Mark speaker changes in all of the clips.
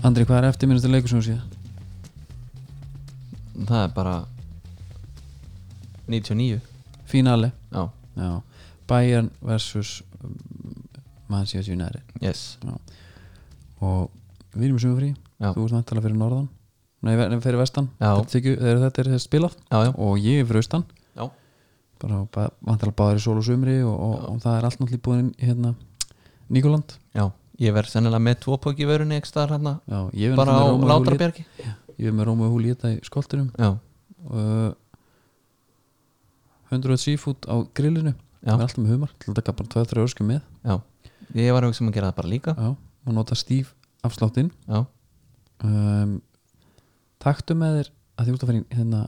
Speaker 1: Andri, hvað er eftir minnast að leikur sem þú séð?
Speaker 2: það er bara 99
Speaker 1: Fínali
Speaker 2: já,
Speaker 1: Já. Bayern versus um, Manchester United
Speaker 2: yes
Speaker 1: og við erum í sumafrí
Speaker 2: Já.
Speaker 1: þú ert nættilega fyrir norðan nei, ver- nei, fyrir vestan
Speaker 2: Já.
Speaker 1: Þetta tekju- þegar þetta er spilað
Speaker 2: já, já,
Speaker 1: og ég er fyrir austan
Speaker 2: já,
Speaker 1: bara ba- vantarlega báður í sól og sumri og, og, og það er allt náttúrulega búin hérna Nikoland
Speaker 2: já. ég verð sennilega með tvo póki í vörunni ekki staðar hérna
Speaker 1: Já, ég er
Speaker 2: bara
Speaker 1: náttúrulega
Speaker 2: á
Speaker 1: með Rómu og Júlíu-
Speaker 2: Látrabjargi
Speaker 1: ég er með Rómu og Húli í þetta í skoltinum
Speaker 2: já,
Speaker 1: uh, 100 seafood á grillinu við
Speaker 2: Já.
Speaker 1: erum alltaf með humar til að taka bara 2-3 örsku með
Speaker 2: já, ég var að hugsa um að gera það bara líka
Speaker 1: Já, og nota stíf afsláttinn
Speaker 2: já,
Speaker 1: um, taktu með þér að því út að fara í hérna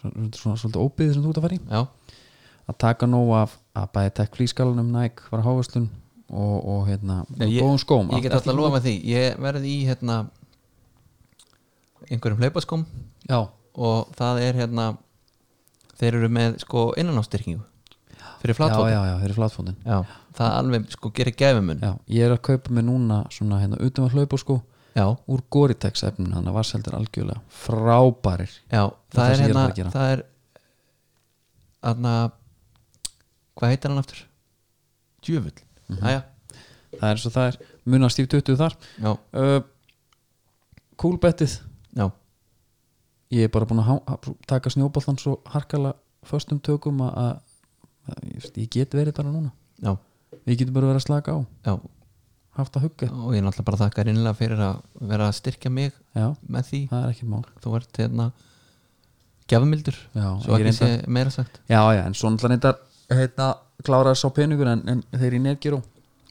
Speaker 1: svona, svona svolítið óbyðið sem þú út að fara í
Speaker 2: já,
Speaker 1: að taka nóg af að bæði tekk flýskalanum Nike var hávæslun og, og hérna
Speaker 2: Já, ég-
Speaker 1: góðum skóm
Speaker 2: ég get
Speaker 1: Allt-
Speaker 2: alltaf að lofa því ég verð í hérna einhverjum hlaupaskóm
Speaker 1: já,
Speaker 2: og það er hérna þeir eru með sko innanástyrkingu fyrir
Speaker 1: já,
Speaker 2: flatfóta
Speaker 1: já, já, þeir eru flatfótin
Speaker 2: Já, það alveg sko gerir gæfumun
Speaker 1: já, ég er að kaupa mig núna svona hérna utan að hlaupa sko
Speaker 2: já,
Speaker 1: úr Goritex efninu þannig að varseldir algjörlega frábærir
Speaker 2: já það
Speaker 1: það
Speaker 2: er
Speaker 1: sem ég er að fara
Speaker 2: hérna
Speaker 1: að gera.
Speaker 2: það er aðna hvað heitir hann aftur? Djöfull mm
Speaker 1: það er eins og það er munar stíf 20 þar
Speaker 2: já,
Speaker 1: uh, Kúlbettið
Speaker 2: já,
Speaker 1: ég er bara búin að há- að taka snjóboltan svo harkala föstum tökum að, að, að ég veist, ég get verið bara núna
Speaker 2: já,
Speaker 1: ég get bara verið að slaka á,
Speaker 2: já
Speaker 1: haft að hugga
Speaker 2: og ég er náttúrulega bara þakka reynilega fyrir að vera að styrkja mig
Speaker 1: já,
Speaker 2: með því
Speaker 1: það er ekki mál
Speaker 2: þú ert hérna gæfumildur
Speaker 1: já,
Speaker 2: svo
Speaker 1: ég
Speaker 2: ekki sé
Speaker 1: reynda,
Speaker 2: meira sagt
Speaker 1: já, já, en svo náttúrulega reyndar heitna, klára þess á peningur en, en þeir í netgyró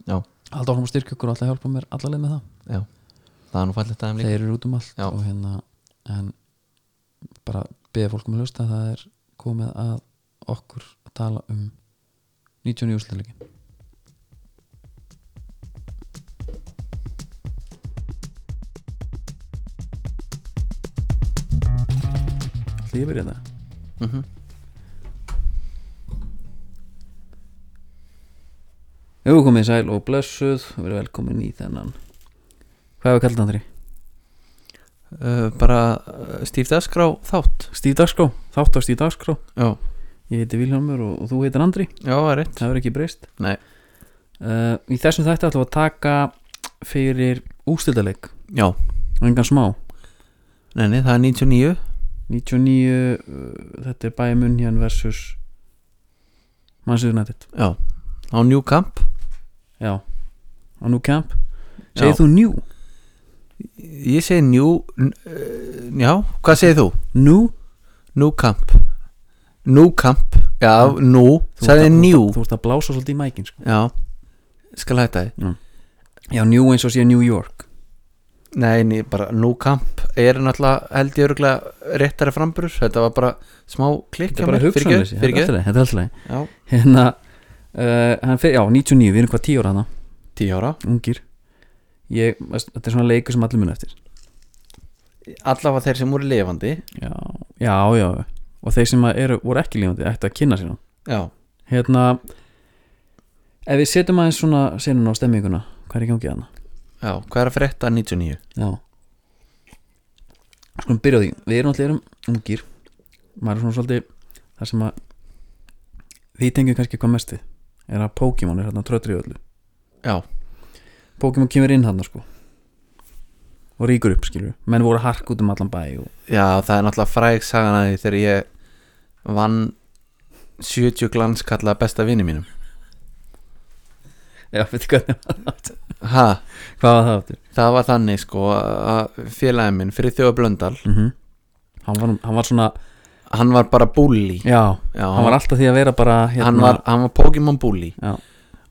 Speaker 2: já,
Speaker 1: alltaf áfram að styrkja okkur og alltaf hjálpa mér allaleg með það
Speaker 2: já, það er nú fallegt aðeim líka
Speaker 1: þeir eru út um allt
Speaker 2: Já.
Speaker 1: og hérna en bara beða fólkum að hlusta það er komið að okkur að tala um 99 úrslileikin Því ég byrja það
Speaker 2: mm
Speaker 1: Jú, komið sæl og blessuð og verið velkomin í þennan Hvað hefur kallt andri?
Speaker 2: uh, bara Steve Deskrá þátt
Speaker 1: Stíf Dagskrá, þátt á Stíf Dagskrá
Speaker 2: já,
Speaker 1: Ég heiti Vilhelmur og, og þú heitir Andri
Speaker 2: já, það er rétt
Speaker 1: Það verður ekki breyst
Speaker 2: Nei.
Speaker 1: uh, Í þessum þætti ætlum við að taka fyrir ústildaleik
Speaker 2: já,
Speaker 1: og engan smá
Speaker 2: Nei, nei, það er 99
Speaker 1: 99, uh, þetta er Bayern München versus Manchester United
Speaker 2: Já, á New Camp
Speaker 1: Já, á New Camp
Speaker 2: Já.
Speaker 1: Segir þú New?
Speaker 2: Ég segi New n- eh, Já, hvað segir þú?
Speaker 1: New?
Speaker 2: New Camp New Camp, já,
Speaker 1: Mm.
Speaker 2: New
Speaker 1: Þú ert að- þú ert
Speaker 2: Sæði
Speaker 1: að-
Speaker 2: New
Speaker 1: Þú ert að blása svolítið í mækin sko.
Speaker 2: Já, skal hætta þið
Speaker 1: Já, New eins og sé New York
Speaker 2: Nei, nei, bara New Camp er náttúrulega held ég örgulega réttara framburur Þetta var bara smá klikk
Speaker 1: Þetta er bara hugsanleysi, þetta er
Speaker 2: Fyrir
Speaker 1: alltaf leið, þetta er alltaf leið
Speaker 2: ekki, já,
Speaker 1: hérna uh, hann fer, já, 99, við erum hvað 10 ára hana
Speaker 2: tíu ára
Speaker 1: ungir ég, veist, þetta er svona leikur sem allir mun eftir
Speaker 2: Allafa þeir sem voru lifandi
Speaker 1: já, já, já og þeir sem að eru, voru ekki lífandi ættu að kynna sér hann
Speaker 2: Já,
Speaker 1: hérna, ef við setjum aðeins svona senun á stemminguna, hvað er í gangi hana
Speaker 2: já, hvað er að frétta 99?
Speaker 1: já skulum byrja á því, við erum allir erum ungir maður er svona svolítið það sem að við tengjum kannski hvað mest við er að Pokémon er hérna tröttri í öllu
Speaker 2: Já,
Speaker 1: Pokémon kemur inn hann sko og ríkur upp skilur menn voru hark út um allan bæ og...
Speaker 2: Já, það er náttúrulega fræg sagan að því þegar ég vann 70 glanskalla besta vini mínum
Speaker 1: já, veitir hvað
Speaker 2: Ha,
Speaker 1: hvað var það áttur
Speaker 2: það var þannig sko að félagin minn fyrir þjóða blöndal
Speaker 1: mm hann, var, hann var svona
Speaker 2: hann var bara bully
Speaker 1: já,
Speaker 2: Já,
Speaker 1: hann var alltaf því að vera bara hérna,
Speaker 2: hann var, hann var Pokémon bully
Speaker 1: já,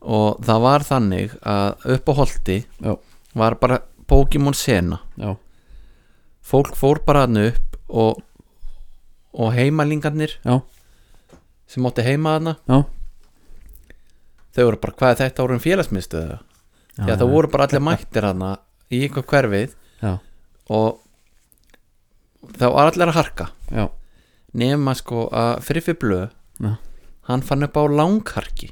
Speaker 2: og það var þannig að upp á holti
Speaker 1: Já.
Speaker 2: var bara Pokémon sena
Speaker 1: já,
Speaker 2: fólk fór bara hann upp og, og heimalingarnir
Speaker 1: já,
Speaker 2: sem átti heima þarna
Speaker 1: já,
Speaker 2: þau voru bara hvað er þetta voru um félagsmiðstöðu
Speaker 1: já,
Speaker 2: Já, það voru bara allir mættir hana í einhver hverfið
Speaker 1: já,
Speaker 2: og það var allir að harka
Speaker 1: já,
Speaker 2: nema sko að Friffi Blö
Speaker 1: já.
Speaker 2: hann fann upp á langharki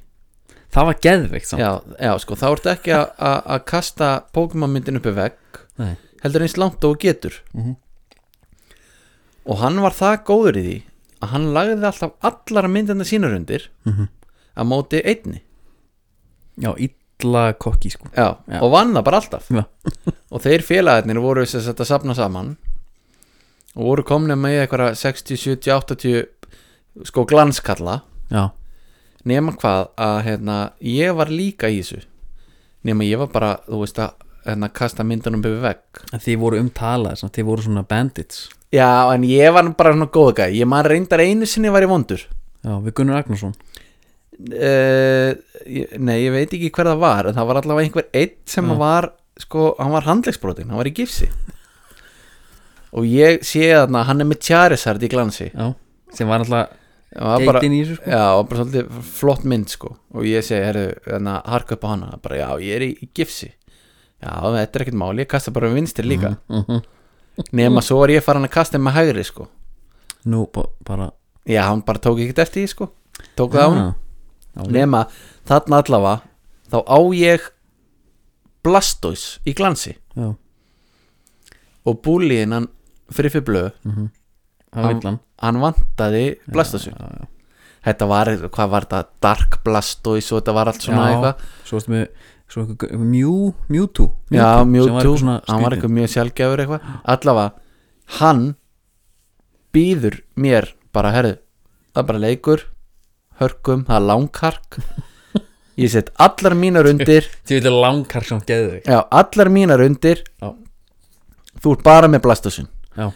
Speaker 1: það var geðveikt samt
Speaker 2: já, já, sko, þá ertu ekki að- að að kasta Pokémon myndin uppi vegg
Speaker 1: Nei.
Speaker 2: heldur eins langt og þú getur
Speaker 1: Mhm.
Speaker 2: og hann var það góður í því að hann lagði alltaf allara myndina sínar undir
Speaker 1: Mhm.
Speaker 2: að móti einni
Speaker 1: Já, illa kokki sko
Speaker 2: já,
Speaker 1: Já.
Speaker 2: og vann það bara alltaf
Speaker 1: Já.
Speaker 2: og þeir félagarnir voru sem sagt að sapna saman og voru komnir með eitthvað 60, 70, 80 sko glanskalla
Speaker 1: Já,
Speaker 2: nema hvað að hérna, ég var líka í þessu nema ég var bara, þú veist að hérna, kasta myndunum yfir vegg
Speaker 1: en þið voru umtalað svona, Þið voru svona bandits
Speaker 2: já, en ég var nú bara svona góð gæ ég man reyndar einu sinni var ég vondur
Speaker 1: Já, við Gunnar Agnarsson
Speaker 2: uh, nei, ég veit ekki hver það var en það var allavega einhver einn sem
Speaker 1: Mm.
Speaker 2: var sko, hann var handlegsbrotin, hann var í gifsi og ég sé þarna hann er með tjarisard í glansi
Speaker 1: Já, sem var alltaf
Speaker 2: og það var bara,
Speaker 1: geitin í þessu sko
Speaker 2: já, og bara svolítið flott mynd sko og ég segi, herru, hérna, harka upp á hana bara, já, ég er í, í gifsi já, þetta er ekkert mál, ég kasta bara vinstir líka
Speaker 1: Mhm.
Speaker 2: nema svo er ég farin að kasta með hægri sko
Speaker 1: Nú, ba- bara
Speaker 2: já, hann bara tók ekkert eftir því sko tók það á hann,
Speaker 1: Já, já,
Speaker 2: nema þarna allavega þá á ég Blastoise í glansi
Speaker 1: já.
Speaker 2: og búliðin hann fyrir fyrir blöð,
Speaker 1: Það vill hann
Speaker 2: hann vantaði Blastoise
Speaker 1: Mhm. Já, já.
Speaker 2: þetta var, hvað var þetta, Dark Blastoise og þetta var allt svona
Speaker 1: Já.
Speaker 2: eitthvað
Speaker 1: Svo varstu með svo eitthvað- eitthvað Mjú, Mewtwo
Speaker 2: Já,
Speaker 1: sem var
Speaker 2: Mewtwo,
Speaker 1: eitthvað svona
Speaker 2: hann var
Speaker 1: skrýtin.
Speaker 2: eitthvað mjög sjálfgefur eitthvað Allavega, hann býður mér bara, herðu, það er bara leikur hörkum, það er langhark ég set allar mínar undir
Speaker 1: Þið vilja langar sem geðu
Speaker 2: já, allar mínar undir
Speaker 1: Já.
Speaker 2: þú ert bara með blastusin
Speaker 1: Já,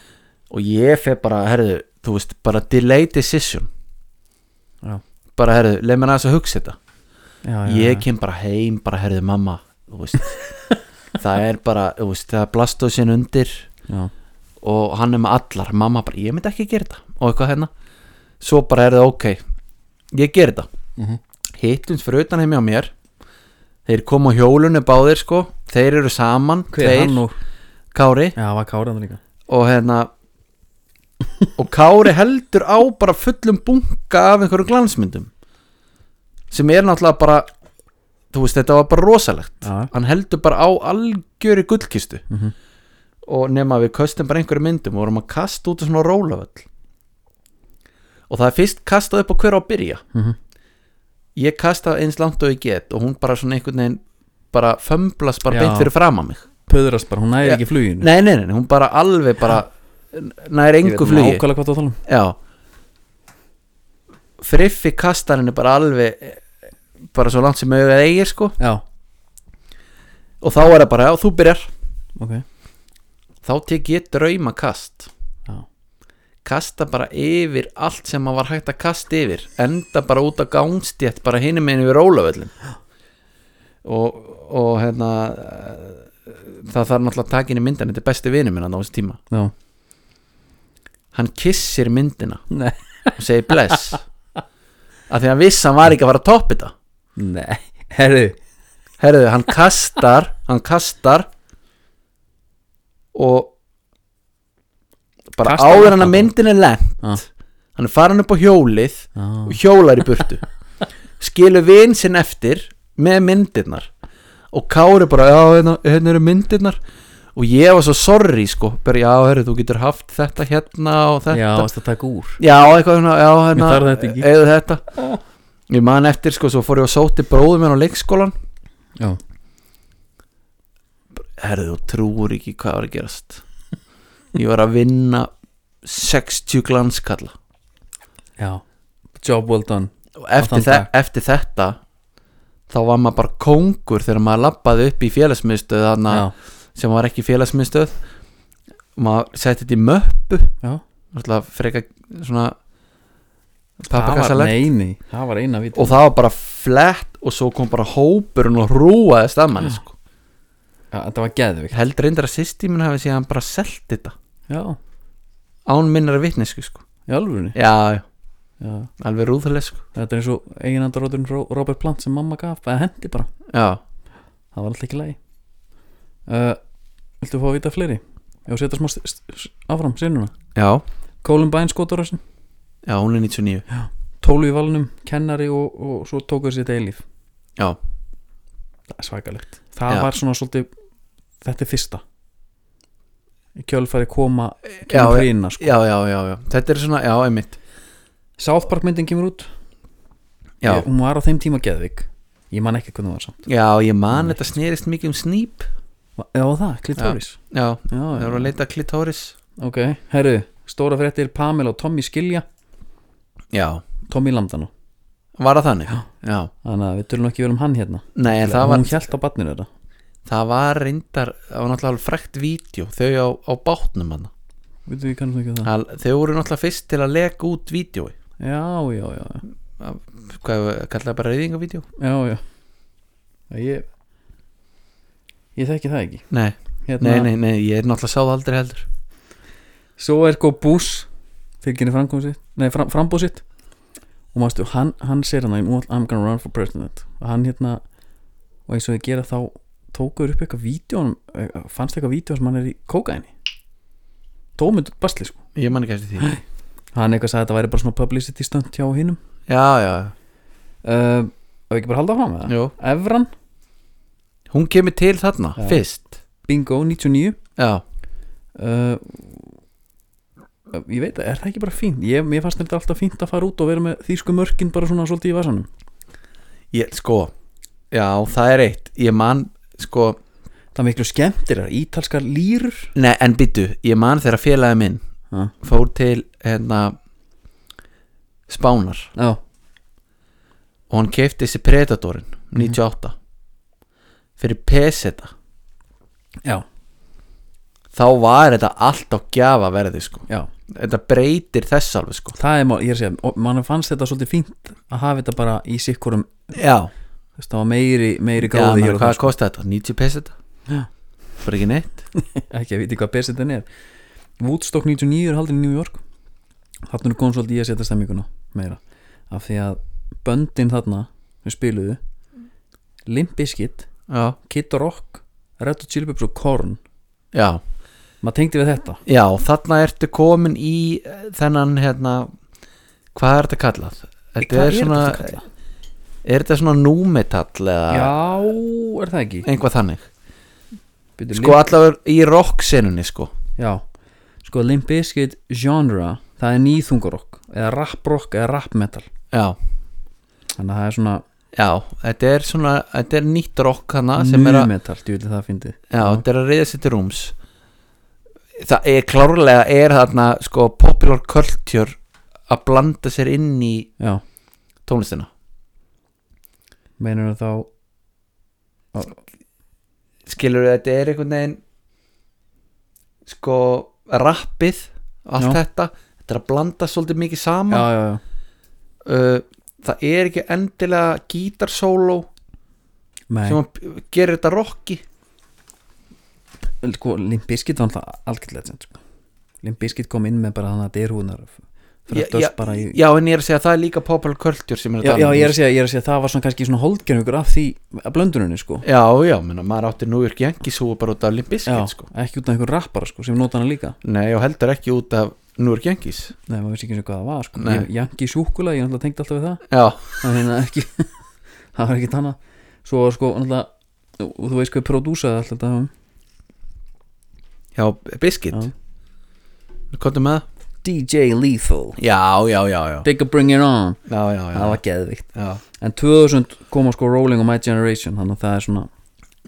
Speaker 2: og ég fer bara, herðu, þú veist bara delay decision
Speaker 1: já,
Speaker 2: bara, herðu, leið mér aðeins að hugsa þetta
Speaker 1: já, já
Speaker 2: ég
Speaker 1: já.
Speaker 2: kem bara heim, bara, herðu, mamma þú veist, það er bara þú veist, það er blastusin undir
Speaker 1: Já,
Speaker 2: og hann er með allar mamma bara, ég myndi ekki gera þetta og eitthvað hérna svo bara er það ok, ég gera þetta
Speaker 1: Mhm.
Speaker 2: hittumst fyrir utan heimi á mér þeir koma á hjólunni báðir sko þeir eru saman,
Speaker 1: hver er hann
Speaker 2: þeir
Speaker 1: og
Speaker 2: Kári
Speaker 1: Já, var Káran líka
Speaker 2: og hérna og Kári heldur á bara fullum bunka af einhverjum glansmyndum sem er náttúrulega bara þú veist, þetta var bara rosalegt
Speaker 1: Já,
Speaker 2: hann heldur bara á algjöri gullkistu
Speaker 1: Mhm.
Speaker 2: og nema við köstum bara einhverju myndum og vorum að kasta út á svona rólavöll og það er fyrst kastað upp á hver á að byrja
Speaker 1: Mhm.
Speaker 2: ég kasta eins langt og ég get og hún bara svona einhvern veginn bara fömblast bara
Speaker 1: Já.
Speaker 2: beint fyrir fram að mig
Speaker 1: pöðrast bara, hún næði
Speaker 2: Já.
Speaker 1: ekki fluginu
Speaker 2: nei, nei, nei, hún bara alveg bara nær engu flugi
Speaker 1: Nákvæmlega hvað þú að tala um
Speaker 2: Já Friffi kastar henni bara alveg eh, bara svo langt sem auðvitað eigir sko
Speaker 1: Já,
Speaker 2: og þá er það bara, já, þú byrjar
Speaker 1: ok
Speaker 2: þá tek ég draumakast
Speaker 1: Já,
Speaker 2: kasta bara yfir allt sem að var hægt að kasta yfir enda bara út á gangstjætt bara hinum meginn yfir rólavöllin og, og hérna eh, það þarf náttúrulega að taka inn í myndan þetta er besti vinur minn þarna á þessu tíma
Speaker 1: já
Speaker 2: hann kissir myndina
Speaker 1: Nei,
Speaker 2: og segir bless af því að hann vissi að hann var ekki að fara að toppa þetta
Speaker 1: nei, herðu
Speaker 2: herðu, hann kastar hann kastar og bara
Speaker 1: Kastar
Speaker 2: áður
Speaker 1: hann
Speaker 2: hann að
Speaker 1: bara?
Speaker 2: myndin er lent
Speaker 1: Já,
Speaker 2: hann er farin upp á hjólið
Speaker 1: já,
Speaker 2: og hjólar í burtu skilur vin sinn eftir með myndirnar og Kári bara, já, hérna, hérna eru myndirnar og ég var svo sorry sko bara, já, herru, þú getur haft þetta hérna og þetta
Speaker 1: já, varstu að taka úr
Speaker 2: Já, eitthvað svona, já, hérna
Speaker 1: Mér þarf þetta ekki.
Speaker 2: Eða þetta Ég man eftir, sko, svo fór ég og sótti bróðum henn á leikskólan
Speaker 1: Já,
Speaker 2: Herðu, þú trúur ekki hvað var að gerast Ég var að vinna 60 glanskalla
Speaker 1: já, job well done
Speaker 2: Og
Speaker 1: þann
Speaker 2: eftir, þe
Speaker 1: dag.
Speaker 2: eftir þetta Þá var maður bara kóngur Þegar maður labbaði upp í félagsmiðstöð Þannig
Speaker 1: Já,
Speaker 2: sem var ekki félagsmiðstöð Maður setti þetta í möppu
Speaker 1: já
Speaker 2: Náttúrulega freka svona
Speaker 1: Það var
Speaker 2: Pappakassalegt
Speaker 1: neini, það var eina viti
Speaker 2: og það var bara flett og svo kom bara hópurinn og rúaðist að manni sko.
Speaker 1: Já, þetta var geðvikt
Speaker 2: held reyndar að sýsti minn hafi síðan bara selt þetta
Speaker 1: Já,
Speaker 2: án minnar vitnesku sko.
Speaker 1: í alvörunni
Speaker 2: já, já,
Speaker 1: Já,
Speaker 2: alveg rúðaleg sko.
Speaker 1: þetta er eins og eiginandaróturinn Robert Plant sem mamma gaf, eða hendi bara
Speaker 2: já,
Speaker 1: Það var alltaf ekki lægi uh, Viltu fá að vita fleiri? Já, setja smá st- st- áfram, sinuna
Speaker 2: já,
Speaker 1: Columbine skotarössin,
Speaker 2: já, hún er 99
Speaker 1: tólu í valnum, kennari og, og svo tóku þessi þetta eilíf
Speaker 2: já,
Speaker 1: Það er svakalegt Það
Speaker 2: Já.
Speaker 1: var svona svolítið, þetta er fyrsta kjölfæri koma
Speaker 2: Já,
Speaker 1: kemur hrína sko.
Speaker 2: já, já, já, já, þetta er svona, já, einmitt
Speaker 1: South Park myndin kemur út
Speaker 2: Já,
Speaker 1: Ég- hún var á þeim tíma Geðvik ég man ekki hvernig hún var samt
Speaker 2: já ég man þetta snerist mikið um snýp
Speaker 1: Va- já það, klittóris
Speaker 2: Já,
Speaker 1: já,
Speaker 2: það
Speaker 1: já,
Speaker 2: voru að leita klitoris
Speaker 1: ok, herru, stóra fréttir Pamela og Tommy skilja
Speaker 2: Já,
Speaker 1: Tommy Landano,
Speaker 2: var það þannig Já,
Speaker 1: þannig að við tölum ekki vel um hann hérna
Speaker 2: Nei, en það var,
Speaker 1: hún hjælt á barninu þetta
Speaker 2: það var reyndar það var náttúrulega alveg frekt vídeo þau á, á bátnum hann
Speaker 1: veitum við kannum ekki um það
Speaker 2: Þau voru náttúrulega fyrst til að leka út vídeoi
Speaker 1: já, já, já, já.
Speaker 2: Hvað, kallaði það bara reyðingavídeó?
Speaker 1: já, já. Já, ég ég þekki það ekki
Speaker 2: Nei,
Speaker 1: hérna,
Speaker 2: nei, nei, nei, ég er náttúrulega sáð aldrei heldur
Speaker 1: svo er sko Bush tilkynni framkomu sitt, nei fram, frambúð sitt og mástu, hann, hann sér hann I'm gonna run for president og hann hérna, og eins og þið gera þá tókuður upp eitthvað vídeo eh, fannst eitthvað vídeo sem hann er í kókaini tómynd basli sko
Speaker 2: Ég man ekki eftir því
Speaker 1: hann eitthvað sagði að þetta væri bara svona publicity stunt hjá hinnum
Speaker 2: Já, já,
Speaker 1: uh, og ekki bara halda fram með það
Speaker 2: jú
Speaker 1: Evran,
Speaker 2: Hún kemur til þarna,
Speaker 1: Já.
Speaker 2: fyrst
Speaker 1: bingo, 99
Speaker 2: Já,
Speaker 1: uh, ég veit að er það ekki bara fínt ég, mér fannst þetta alltaf fínt að fara út og vera með þýsku mörkin bara svona svolítið í vasanum
Speaker 2: ég, sko Já, það er eitt, ég man sko,
Speaker 1: það er miklu skemmtir ítalskar lýrur
Speaker 2: nei, en byttu ég man þegar félagi minn
Speaker 1: já,
Speaker 2: fór til hérna Spánar
Speaker 1: já,
Speaker 2: og hann keipti þessi Predatorin 98 fyrir peseta
Speaker 1: já,
Speaker 2: þá var þetta allt á gjafa verði sko
Speaker 1: já.
Speaker 2: þetta breytir þess alveg sko
Speaker 1: það er, mál- ég er að segja, og mann fannst þetta svolítið fínt að hafa þetta bara í sikkurum
Speaker 2: já,
Speaker 1: þess það var meiri, meiri
Speaker 2: já
Speaker 1: gáði
Speaker 2: menn,
Speaker 1: hér og
Speaker 2: hvað
Speaker 1: þar, sko.
Speaker 2: kosti þetta? 90 peseta?
Speaker 1: Já.
Speaker 2: bara ekki neitt
Speaker 1: ekki að viti hvað besetin er Woodstock 99 er haldin í New York þarna er kom svolítið í að setja stemminguna meira, af því að böndin þarna, við spiluðu Limp Bizkit
Speaker 2: já,
Speaker 1: Kid Rock, Red Hot Chili Peppers og Korn
Speaker 2: já,
Speaker 1: maður tengdi við þetta
Speaker 2: já þarna ertu komin í eh, þennan hérna hvað er þetta kallað? Þetta
Speaker 1: Hvað
Speaker 2: er, svona,
Speaker 1: þetta kallað?
Speaker 2: er þetta svona númetall eða
Speaker 1: já, er það ekki
Speaker 2: einhvað þannig
Speaker 1: Byrju,
Speaker 2: sko allavega í rocksenunni sko
Speaker 1: Limp- já, sko Limp Bizkit genre það er nýþungarokk eða rapprokk eða rappmetal
Speaker 2: já,
Speaker 1: þannig að það er svona
Speaker 2: já, þetta er svona þetta er nýtt rock hana Ah, sem er að,
Speaker 1: numetal, djúli það fyndi
Speaker 2: já, þetta er að reyða sér til rúms það er klárlega er þarna sko popular culture að blanda sér inn í
Speaker 1: já,
Speaker 2: tónlistina
Speaker 1: meinar þá
Speaker 2: skilur þetta er einhvern veginn sko rappið allt
Speaker 1: Já.
Speaker 2: þetta þetta er að blanda svolítið mikið
Speaker 1: já,
Speaker 2: saman
Speaker 1: já, já,
Speaker 2: uh, það er ekki endilega gítarsóló
Speaker 1: nei
Speaker 2: sem að gerir þetta rocki
Speaker 1: sko, Limp Bizkit var alltaf algjörlega sko. Limp Bizkit kom inn með bara þannig að derhúðnar fyrir
Speaker 2: Já,
Speaker 1: að döst bara í
Speaker 2: Já, en ég er að segja að það er líka popular culture sem er að
Speaker 1: Já, já,
Speaker 2: um,
Speaker 1: ég er að segja, ég er að segja, það var svona kannski svona holdgerðingur af því, af blönduninni, sko
Speaker 2: Já, já, menna, maður átti New York Yankees og bara út af Limp
Speaker 1: Já,
Speaker 2: Bizkit sko.
Speaker 1: ekki út af einhver rappara, sko, sem nota hana líka
Speaker 2: Nei, og heldur ekki út af New York Yankees
Speaker 1: Nei, maður vissi ekki eins og hvað það var, sko
Speaker 2: Nei.
Speaker 1: Ég- Yankee sjúkula, ég náttúrulega tengdi alltaf við það
Speaker 2: Já,
Speaker 1: Það hérna ekki, það var ekki tanna Svo, var, sko, náttúrulega, og þú veist hvað prodúsaði alltaf þetta um,
Speaker 2: já, Bizkit
Speaker 1: Já.
Speaker 2: Kottu með það?
Speaker 1: DJ Lethal
Speaker 2: Já, já, já, já
Speaker 1: Take a bring it on
Speaker 2: Já, já, já,
Speaker 1: Það var geðvikt
Speaker 2: já.
Speaker 1: En 2000 koma sko Rolling og My Generation Þannig að það er svona,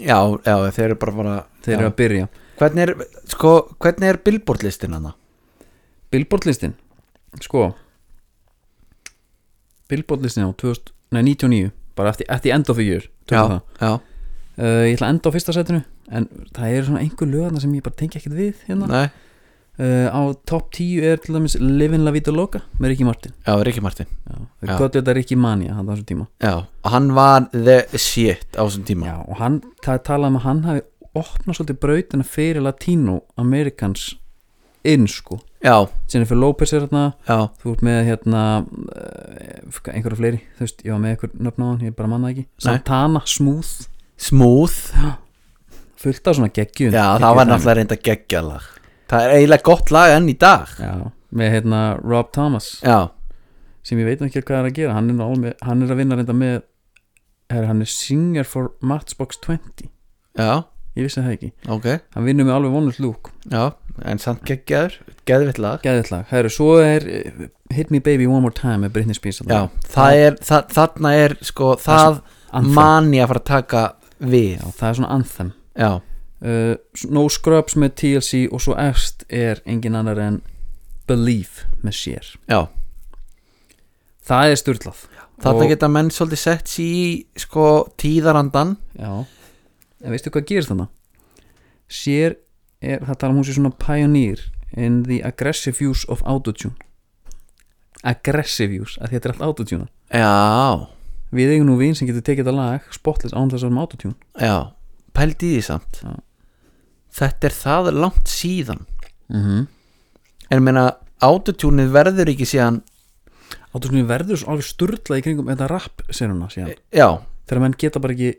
Speaker 2: já, já þeir eru bara, bara
Speaker 1: þeir eru
Speaker 2: já.
Speaker 1: að byrja
Speaker 2: Hvernig er, sko, hvernig er Billboard listin hana?
Speaker 1: Billboard listin, sko Billboard listin á 2000, nei, 99 Bara eftir, eftir end of the year tökum það.
Speaker 2: já,
Speaker 1: Uh, ég ætla að enda á fyrsta setinu En það eru svona einhver lögarna sem ég bara tengi ekkert við hérna.
Speaker 2: nei
Speaker 1: uh, Á top 10 er til dæmis Livin La Vita Loca með Ricky Martin
Speaker 2: Já, Ríkki Martin
Speaker 1: Já. Þau
Speaker 2: Já.
Speaker 1: köllu þetta Ricky Mania hann á þessum tíma
Speaker 2: Já, og hann var the shit á þessum tíma
Speaker 1: Já, og hann, það er talað um að hann hafi opnað svolítið brautina fyrir Latino Americans inn sko
Speaker 2: já,
Speaker 1: Jennifer Lopez er hérna
Speaker 2: já,
Speaker 1: þú ert með hérna uh, einhverja fleiri, þú veist, ég var með einhver nöfn á hann, ég bara manna ekki Santana, Smooth,
Speaker 2: Smooth
Speaker 1: fullt af svona geggjum
Speaker 2: Já, það var náttúrulega reynda geggjalag Það er eiginlega gott lag enn í dag
Speaker 1: Já, með hérna Rob Thomas
Speaker 2: Já,
Speaker 1: sem ég veit nú ekki hvað er að gera hann er, nú alveg með, hann er að vinna reynda með her, hann er singer for Matchbox 20
Speaker 2: já,
Speaker 1: ég vissi það ekki,
Speaker 2: ok
Speaker 1: hann vinnur með alveg vonult lúk
Speaker 2: Já, en samt geggjaður, geðvitt lag
Speaker 1: Geðið lag, það eru, svo er eh, Hit Me Baby One More Time með Britney Spears þarna.
Speaker 2: Já, það er, það, þarna er sko, það
Speaker 1: Anthem.
Speaker 2: man ég að fara að taka við
Speaker 1: Já, það er svona anthem
Speaker 2: Já,
Speaker 1: uh, No Scrubs með TLC og svo efst er engin annar en Believe með sér
Speaker 2: já,
Speaker 1: það er sturlað
Speaker 2: þarna
Speaker 1: Og-
Speaker 2: geta menn svolítið sett sér í sko tíðarandan
Speaker 1: já. en veistu hvað gerist þannig sér er, það tala um hún sér svona pioneer in the aggressive use of autotune aggressive use, að þetta er allt autotune
Speaker 2: Já,
Speaker 1: við eigum nú vin sem getur tekið þetta lag spotless án þess að um autotune
Speaker 2: já, pældi því samt
Speaker 1: Já.
Speaker 2: Þetta er það langt síðan
Speaker 1: mm -hmm.
Speaker 2: En ég meina, autotúnið verður ekki síðan
Speaker 1: autotune verður svo alveg sturlað í kringum þetta rap seruna síðan
Speaker 2: Já,
Speaker 1: þegar menn geta bara ekki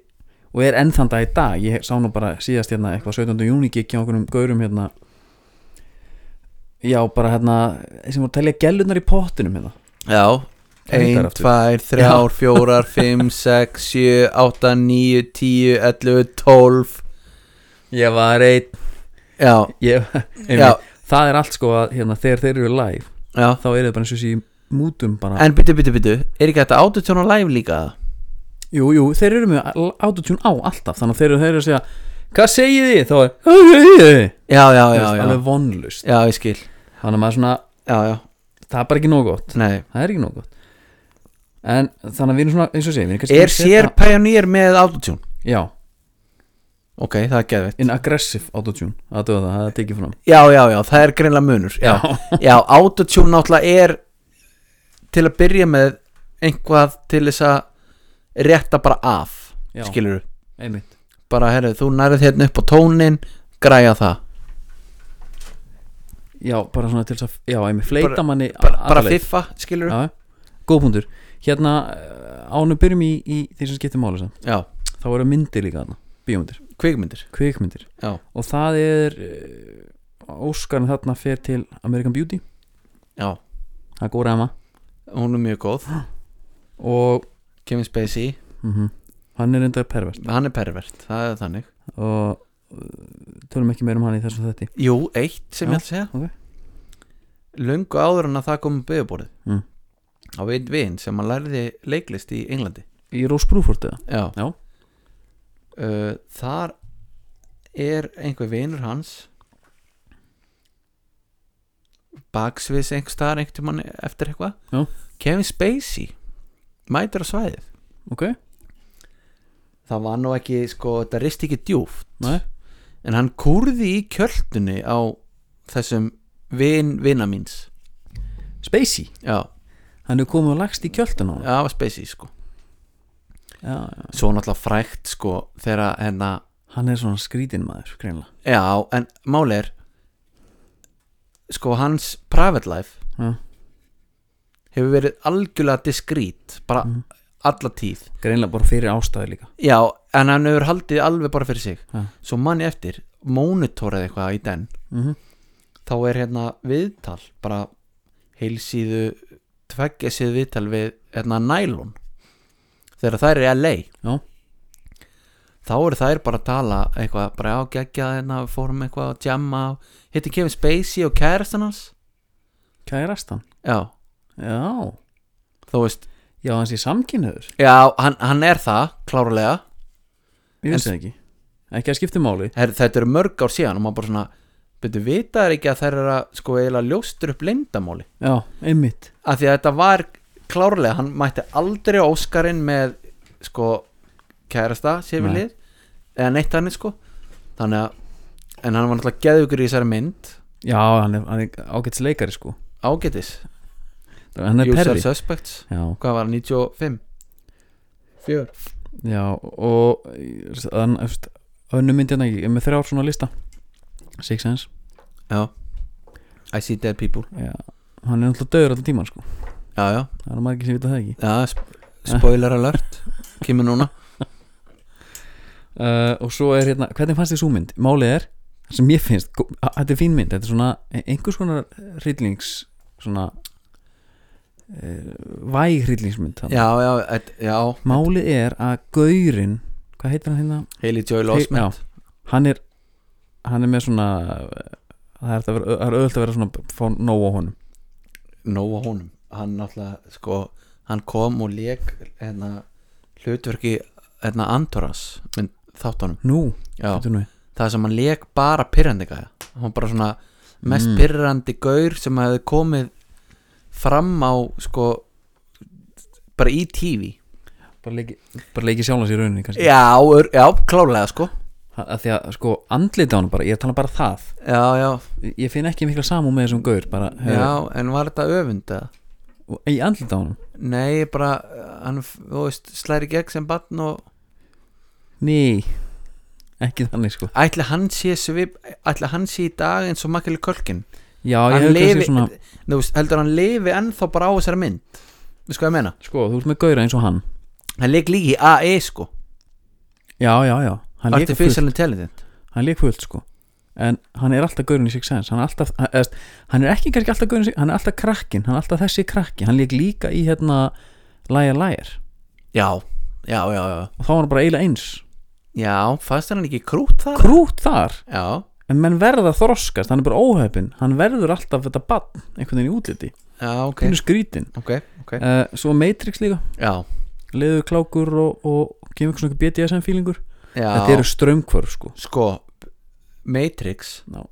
Speaker 1: og er enn þann dag í dag, ég sá nú bara síðast hérna eitthvað 17. júni gikk hjá einhvernum gaurum hérna já bara hérna sem voru að telja gellunar í pottinum hérna
Speaker 2: já
Speaker 1: Hvað heitir
Speaker 2: 1,
Speaker 1: aftur?
Speaker 2: 2, 3, 4, 5, 6, 7, 8, 9, 10, 11, 12
Speaker 1: ég var einn
Speaker 2: Já,
Speaker 1: ég,
Speaker 2: já,
Speaker 1: einmitt, það er allt sko að hérna, þegar þeir eru live
Speaker 2: já
Speaker 1: þá eru þeir bara eins og þessi í mútum bara
Speaker 2: En byttu, byttu, byttu, er ekki þetta autotune á live líka?
Speaker 1: jú, jú, þeir eru með autotune á alltaf þannig að þeir eru, þeir eru að segja hvað segið þið? þá er "Hvað segið þið?"
Speaker 2: Já,
Speaker 1: Þú
Speaker 2: já, já,
Speaker 1: veist,
Speaker 2: já
Speaker 1: alveg vonlust
Speaker 2: Já, ég skil
Speaker 1: þannig að maður svona,
Speaker 2: Já, já,
Speaker 1: það er bara ekki nóg gott
Speaker 2: nei
Speaker 1: það er ekki nóg gott en þannig að við erum svona eins og segja við erum kannski
Speaker 2: Er
Speaker 1: að
Speaker 2: sér pæjónýr með autotune?
Speaker 1: já,
Speaker 2: Ok, það er geðveitt
Speaker 1: in aggressive autotune aðtöða það, það er tekið fram
Speaker 2: Já, já, já, það er greinlega munur Já, já autotune náttúrulega er til að byrja með einhvað til þess að rétta bara af
Speaker 1: Já.
Speaker 2: skilur
Speaker 1: einmitt
Speaker 2: bara herrið, þú nærið hérna upp á tónin græja það,
Speaker 1: já, bara svona til þess að, já, einmitt fleita
Speaker 2: Bara-
Speaker 1: manni
Speaker 2: bara,
Speaker 1: alla
Speaker 2: bara
Speaker 1: leið.
Speaker 2: fiffa skilur
Speaker 1: já, góð punktur hérna ánum byrjum í, í því sem skiptir máli samt.
Speaker 2: já,
Speaker 1: þá eru myndir líka þarna, bíómyndir
Speaker 2: kvikmyndir
Speaker 1: kvikmyndir
Speaker 2: Já.
Speaker 1: og það er eh, Óskarinn þarna fer til American Beauty
Speaker 2: Já,
Speaker 1: það er góð ræma
Speaker 2: hún er mjög góð
Speaker 1: og
Speaker 2: Kevin Spacey,
Speaker 1: mm hann er enda pervert
Speaker 2: hann er pervert það er þannig
Speaker 1: og eh, tölum ekki meir um hann í þessum þetti
Speaker 2: Jú, eitt
Speaker 1: Já,
Speaker 2: sem ég ætla að segja
Speaker 1: ok.
Speaker 2: Lungu áður en að það kom um byggjaborðið
Speaker 1: Mm.
Speaker 2: á einn vin sem að læriði leiklist í Englandi
Speaker 1: í Rós Brúfort eða
Speaker 2: Já,
Speaker 1: Já.
Speaker 2: Uh, Þar er einhver vinur hans baksviðs einhver staðar einhvern mann eftir
Speaker 1: Já.
Speaker 2: eitthvað Kevin Spacey mætir á svæðið
Speaker 1: ok,
Speaker 2: það var nú ekki, sko, þetta rist ekki djúft
Speaker 1: Nei.
Speaker 2: en hann kúrði í kjöldunni á þessum vin, vina míns
Speaker 1: Spacey
Speaker 2: já,
Speaker 1: hann er komið og lagst í kjöldun á hann
Speaker 2: það var Spacey, sko
Speaker 1: já, já.
Speaker 2: svo náttúrulega frækt, sko, þegar að, hérna
Speaker 1: hann er svona skrítinn maður greinlega
Speaker 2: Já, en máli er sko hans private life
Speaker 1: Já.
Speaker 2: hefur verið algjörlega diskrít bara
Speaker 1: Mhm.
Speaker 2: alla tíð
Speaker 1: greinlega bara fyrir ástæði líka
Speaker 2: Já, en hann hefur haldið alveg bara fyrir sig
Speaker 1: Já.
Speaker 2: svo manni eftir, monitoraði eitthvað í den
Speaker 1: mm -hmm.
Speaker 2: þá er hérna viðtal bara heilsíðu tveggja síðu viðtal við hérna nælun þegar það er í LA
Speaker 1: Já.
Speaker 2: þá eru þær bara að tala eitthvað, bara á geggja hérna við fórum eitthvað að jamma hittum Kevin Spacey og kærastan hans
Speaker 1: kærast hann
Speaker 2: já,
Speaker 1: já,
Speaker 2: þú veist
Speaker 1: já hans í samkynniður
Speaker 2: já, hann, hann er það, klárlega
Speaker 1: ég
Speaker 2: En-
Speaker 1: vissi það ekki ekki að skipta máli
Speaker 2: Her, þetta eru mörg ár síðan og maður bara svona betur vita þær ekki að þær eru að sko eiginlega ljóstur upp leyndamáli
Speaker 1: já, einmitt
Speaker 2: af því að þetta var klárlega hann mætti aldrei á Óskarinn með sko kærasta sér við
Speaker 1: Nei.
Speaker 2: lið eða neitt hann sko þannig að en hann var náttúrulega geðugur í þessari mynd
Speaker 1: já, hann er, hann er ágæts leikari sko
Speaker 2: ágætis,
Speaker 1: hann er
Speaker 2: Usual
Speaker 1: perri
Speaker 2: Suspects
Speaker 1: já,
Speaker 2: hvað var hann, 95 4
Speaker 1: já, og hann, eftir, önnu myndi hann ekki hérna, með þrjár svona lista Six Sense
Speaker 2: já, I see dead people
Speaker 1: já. hann er náttúrulega döður alltaf tíman sko
Speaker 2: já, já,
Speaker 1: það er margir sem vita það ekki
Speaker 2: Já, sp- spoiler alert Kemur núna
Speaker 1: uh, og svo er hérna, hvernig fannst þið svo mynd? Málið er, það sem ég finnst gó- a- þetta er fín mynd, þetta er svona e, einhvers konar hryllings svona uh, væg hryllingsmynd þarna.
Speaker 2: Já, já, et, já
Speaker 1: málið er að Gaurin hvað heitir hann hérna?
Speaker 2: Haley Joel Osment
Speaker 1: Hann er, hann er með svona það er, hægt að vera, það er auðvitað að vera svona fá nóg á honum
Speaker 2: nóg á honum hann náttúrulega sko hann kom og leik hérna, hlutverki hérna, Antoras mynd þáttunum
Speaker 1: nú,
Speaker 2: Já,
Speaker 1: þetta nú í.
Speaker 2: það sem hann leik bara pyrrandi gæja hann var bara svona mest
Speaker 1: Mm.
Speaker 2: pyrrandi gaur sem hefði komið fram á sko bara í TV
Speaker 1: bara leiki, bara leiki sjálfans í rauninni kannski
Speaker 2: já, ör- já, klálega sko
Speaker 1: að að því að sko andlita honum bara, ég tala bara það
Speaker 2: já, já,
Speaker 1: Ég- ég finn ekki mikla samú með þessum gaur bara,
Speaker 2: já,
Speaker 1: heyrðu,
Speaker 2: en var þetta öfunda?
Speaker 1: og- í andlita honum
Speaker 2: nei, bara hann, þú veist, slæri gegn sem bann og
Speaker 1: ný, ekki þannig sko
Speaker 2: ætli hann sé svip, ætli hann sé í dag eins og makkeli kölkin
Speaker 1: já, ég
Speaker 2: hann
Speaker 1: hef kannski
Speaker 2: lifi,
Speaker 1: svona
Speaker 2: þú veist, heldur hann lifi ennþá bara á þessari mynd þú sko ég meina,
Speaker 1: sko, þú ert með gaura eins og hann
Speaker 2: hann leik líki í AE sko,
Speaker 1: já, já, já, hann leik fullt
Speaker 2: artificial intelligent
Speaker 1: hann leik fullt sko en hann er alltaf gaurinn í Six Sense hann er, alltaf, hann, eðst, hann er ekki kannski alltaf gaurinn í Six- hann er alltaf krakkin, hann er alltaf þessi krakki hann leik líka í hérna Liar Liar
Speaker 2: já, já, já, já
Speaker 1: og þá var hann bara eiginlega eins
Speaker 2: já, fannst hann ekki krút þar?
Speaker 1: krút þar,
Speaker 2: já,
Speaker 1: en menn verða að þroskast hann er bara óhefin, hann verður alltaf þetta bann einhvern veginn í útliti,
Speaker 2: já, ok
Speaker 1: pínu skrítin
Speaker 2: ok, ok,
Speaker 1: uh, svo Matrix líka,
Speaker 2: já,
Speaker 1: leður klákur og, og kemur eitthvað svona BDSM fílingur þetta
Speaker 2: já
Speaker 1: eru strömmkvörf sko
Speaker 2: sko, Matrix
Speaker 1: Já.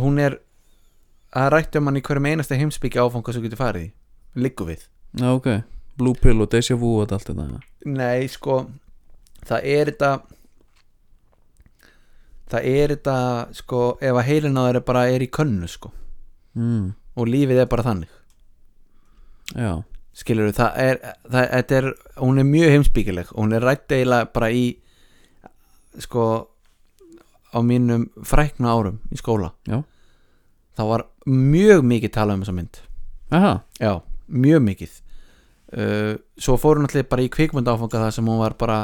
Speaker 2: hún er að rættu um hann í hverjum einasta heimsbyggja áfanga sem þú getur farið í liggum við
Speaker 1: Já, ok, Blue Pill og Deja Vu og þetta allt þetta
Speaker 2: Nei, sko Það er þetta Það er þetta sko, ef að heilin á þeirra bara er í könnu sko,
Speaker 1: mm,
Speaker 2: og lífið er bara þannig
Speaker 1: Já,
Speaker 2: skilur við, það er, það, þetta er hún er mjög heimsbyggileg, hún er rætt eiginlega bara í sko á mínum frækna árum í skóla
Speaker 1: Já.
Speaker 2: það var mjög mikið talað um þessa mynd
Speaker 1: aha,
Speaker 2: Já, mjög mikið uh, Svo fór hún allir bara í kvikmynda áfanga það sem hún var bara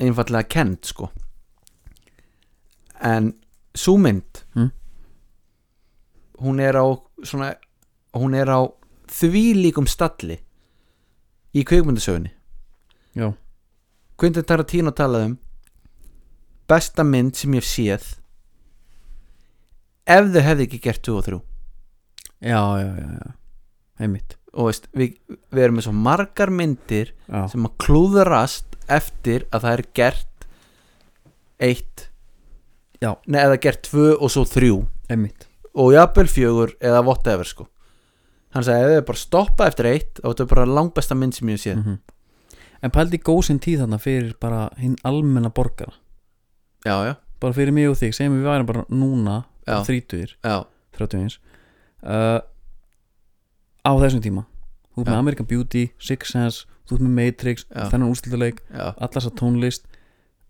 Speaker 2: einfallega kent sko En sú mynd
Speaker 1: Mm.
Speaker 2: hún er á svona, hún er á því líkum stalli í kvikmyndasögunni
Speaker 1: já
Speaker 2: Quentin Tarantino talaði um besta mynd sem ég hef séð ef þau hefði ekki gert 2 og 3
Speaker 1: Já, já, já, já, heimitt
Speaker 2: og veist, við, við erum með svo margar myndir
Speaker 1: Já,
Speaker 2: sem að klúðrast eftir að það er gert eitt
Speaker 1: Já.
Speaker 2: Nei, eða gert tvö og svo þrjú
Speaker 1: heimitt
Speaker 2: og jafnvel fjögur eða whatever sko hann sagði ef þau bara stoppa eftir eitt og þetta er bara langbesta mynd sem ég sé mm.
Speaker 1: -hmm. En pældi góðsinn tíð þarna fyrir bara hinn almenna borgara
Speaker 2: já, já,
Speaker 1: bara fyrir mig og þig, segjum við værum bara núna
Speaker 2: Já.
Speaker 1: þrítugir,
Speaker 2: já,
Speaker 1: 31 uh, á þessum tíma þú ert
Speaker 2: Já.
Speaker 1: með American Beauty, Six Sense þú ert með Matrix,
Speaker 2: Já.
Speaker 1: þennan úrslitaleg
Speaker 2: já,
Speaker 1: allars að tónlist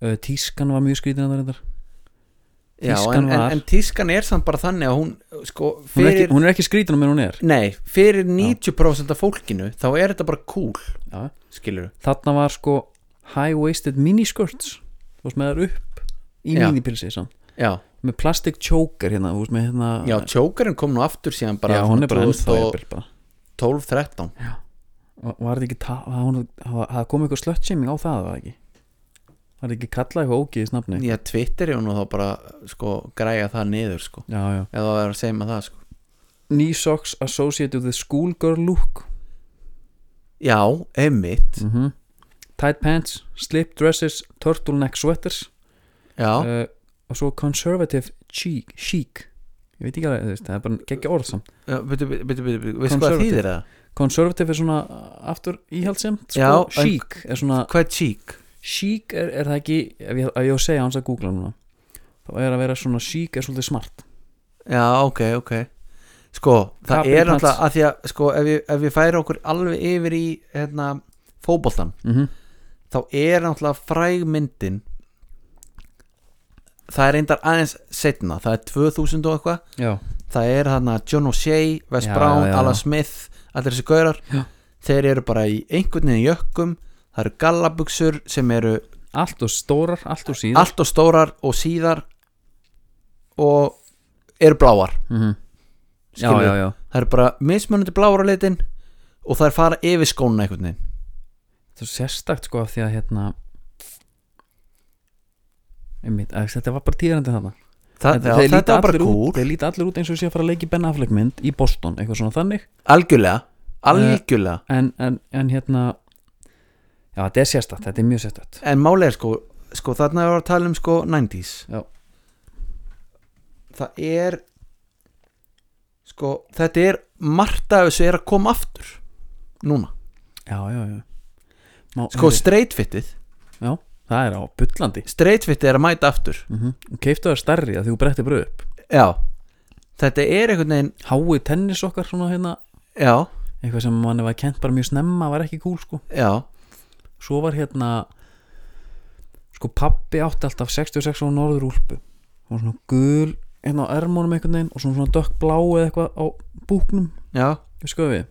Speaker 1: uh, tískan var mjög skrítin að það reyndar
Speaker 2: já
Speaker 1: Tískan
Speaker 2: en, en,
Speaker 1: var-
Speaker 2: en tískan er samt bara þannig að hún sko
Speaker 1: hún er, ekki,
Speaker 2: fyrir,
Speaker 1: hún er ekki skrítin á meðan hún er
Speaker 2: nei, fyrir 90% af fólkinu þá er þetta bara cool
Speaker 1: Já.
Speaker 2: skilur
Speaker 1: þarna var sko high-waisted miniskirts þú veist með þar upp í
Speaker 2: Já.
Speaker 1: minipilsi samt.
Speaker 2: já,
Speaker 1: með plastic choker hérna, þú veist með hérna
Speaker 2: já, tjókarinn kom nú aftur síðan bara
Speaker 1: já, hún er bara ennþá
Speaker 2: 2012,
Speaker 1: jafnvel bara
Speaker 2: 12-13
Speaker 1: Var- var þetta ekki, ta- var hún- var- það kom eitthvað slutshaming á það var það ekki var þetta ekki kallað eitthvað ógið í snafni
Speaker 2: Já, Twitter er nú þá bara sko, græja það niður sko
Speaker 1: já, já
Speaker 2: eða það er að segja maður það sko
Speaker 1: knee socks associated with schoolgirl look
Speaker 2: Já, einmitt
Speaker 1: mm tight pants, slip dresses turtleneck sweaters
Speaker 2: Já,
Speaker 1: uh, og svo conservative chic, chic. ég veit ekki alveg, þú veist, það er bara geggja orð samt
Speaker 2: byrju, byrju, byrju, byrju veistu hvað það
Speaker 1: Conservative.
Speaker 2: þýðir það?
Speaker 1: conservative er svona uh, aftur íhaldsemt sko,
Speaker 2: Já, en-
Speaker 1: chic er svona
Speaker 2: Hvað er cheek?
Speaker 1: chic er, er það ekki, ef ég, ef ég á að segja hans að googla núna þá er að vera svona chic er svolítið smart
Speaker 2: Já, ok, ok Sko, það
Speaker 1: Capri
Speaker 2: er
Speaker 1: pants.
Speaker 2: náttúrulega að því að sko, ef við, ef við færi okkur alveg yfir í hérna, fótboltan
Speaker 1: mm -hmm.
Speaker 2: þá er náttúrulega fræg myndin það er reyndar aðeins setna það er 2000 og eitthvað
Speaker 1: já,
Speaker 2: það er þarna John O'Shea, Wes
Speaker 1: Já,
Speaker 2: Brown,
Speaker 1: já, já.
Speaker 2: Alan Smith allir þessi gaurar,
Speaker 1: Já.
Speaker 2: þeir eru bara í einhvern veginn jökkum, það eru gallabuxur sem eru
Speaker 1: allt og stórar, allt og síðar
Speaker 2: allt og stórar og síðar og eru bláar
Speaker 1: mm -hmm. já,
Speaker 2: skilurðu.
Speaker 1: já, já,
Speaker 2: það eru bara mismunandi bláar á litin og það er fara yfir skóna einhvern veginn
Speaker 1: það er sérstakt sko af því að hérna einmitt, að þetta var bara tíðarandi þarna
Speaker 2: Þa,
Speaker 1: Þetta-
Speaker 2: já,
Speaker 1: þeir líta
Speaker 2: þetta var bara
Speaker 1: allir út-
Speaker 2: kúl
Speaker 1: þeir líta allir út eins og sé að fara að leiki Ben Affleck mynd í Boston, eitthvað svona þannig
Speaker 2: Algjörlega,
Speaker 1: Eh.
Speaker 2: algjörlega
Speaker 1: en, en, en hérna já, þetta er sérstætt, þetta er mjög sérstætt
Speaker 2: En málega er sko, sko þarna er að tala um sko 90s
Speaker 1: Já.
Speaker 2: Það er sko, þetta er margt af þessu er að koma aftur núna,
Speaker 1: já, já, já Má,
Speaker 2: sko
Speaker 1: heyrðu,
Speaker 2: streitfittið
Speaker 1: já, það er á bullandi
Speaker 2: streitfittið er að mæta aftur
Speaker 1: mm -hmm. keiftu það stærri að því þú brettir bröð upp
Speaker 2: já, þetta er einhvern veginn
Speaker 1: háið tennis okkar svona hérna
Speaker 2: já,
Speaker 1: eitthvað sem manni var kent bara mjög snemma var ekki kúl sko
Speaker 2: já,
Speaker 1: svo var hérna sko pappi átti alltaf 66 á norður úlpu hún var svona gul hérna á ermónum einhvern veginn og svona, svona dökk blá eða eitthvað á búknum
Speaker 2: já,
Speaker 1: við skoðum við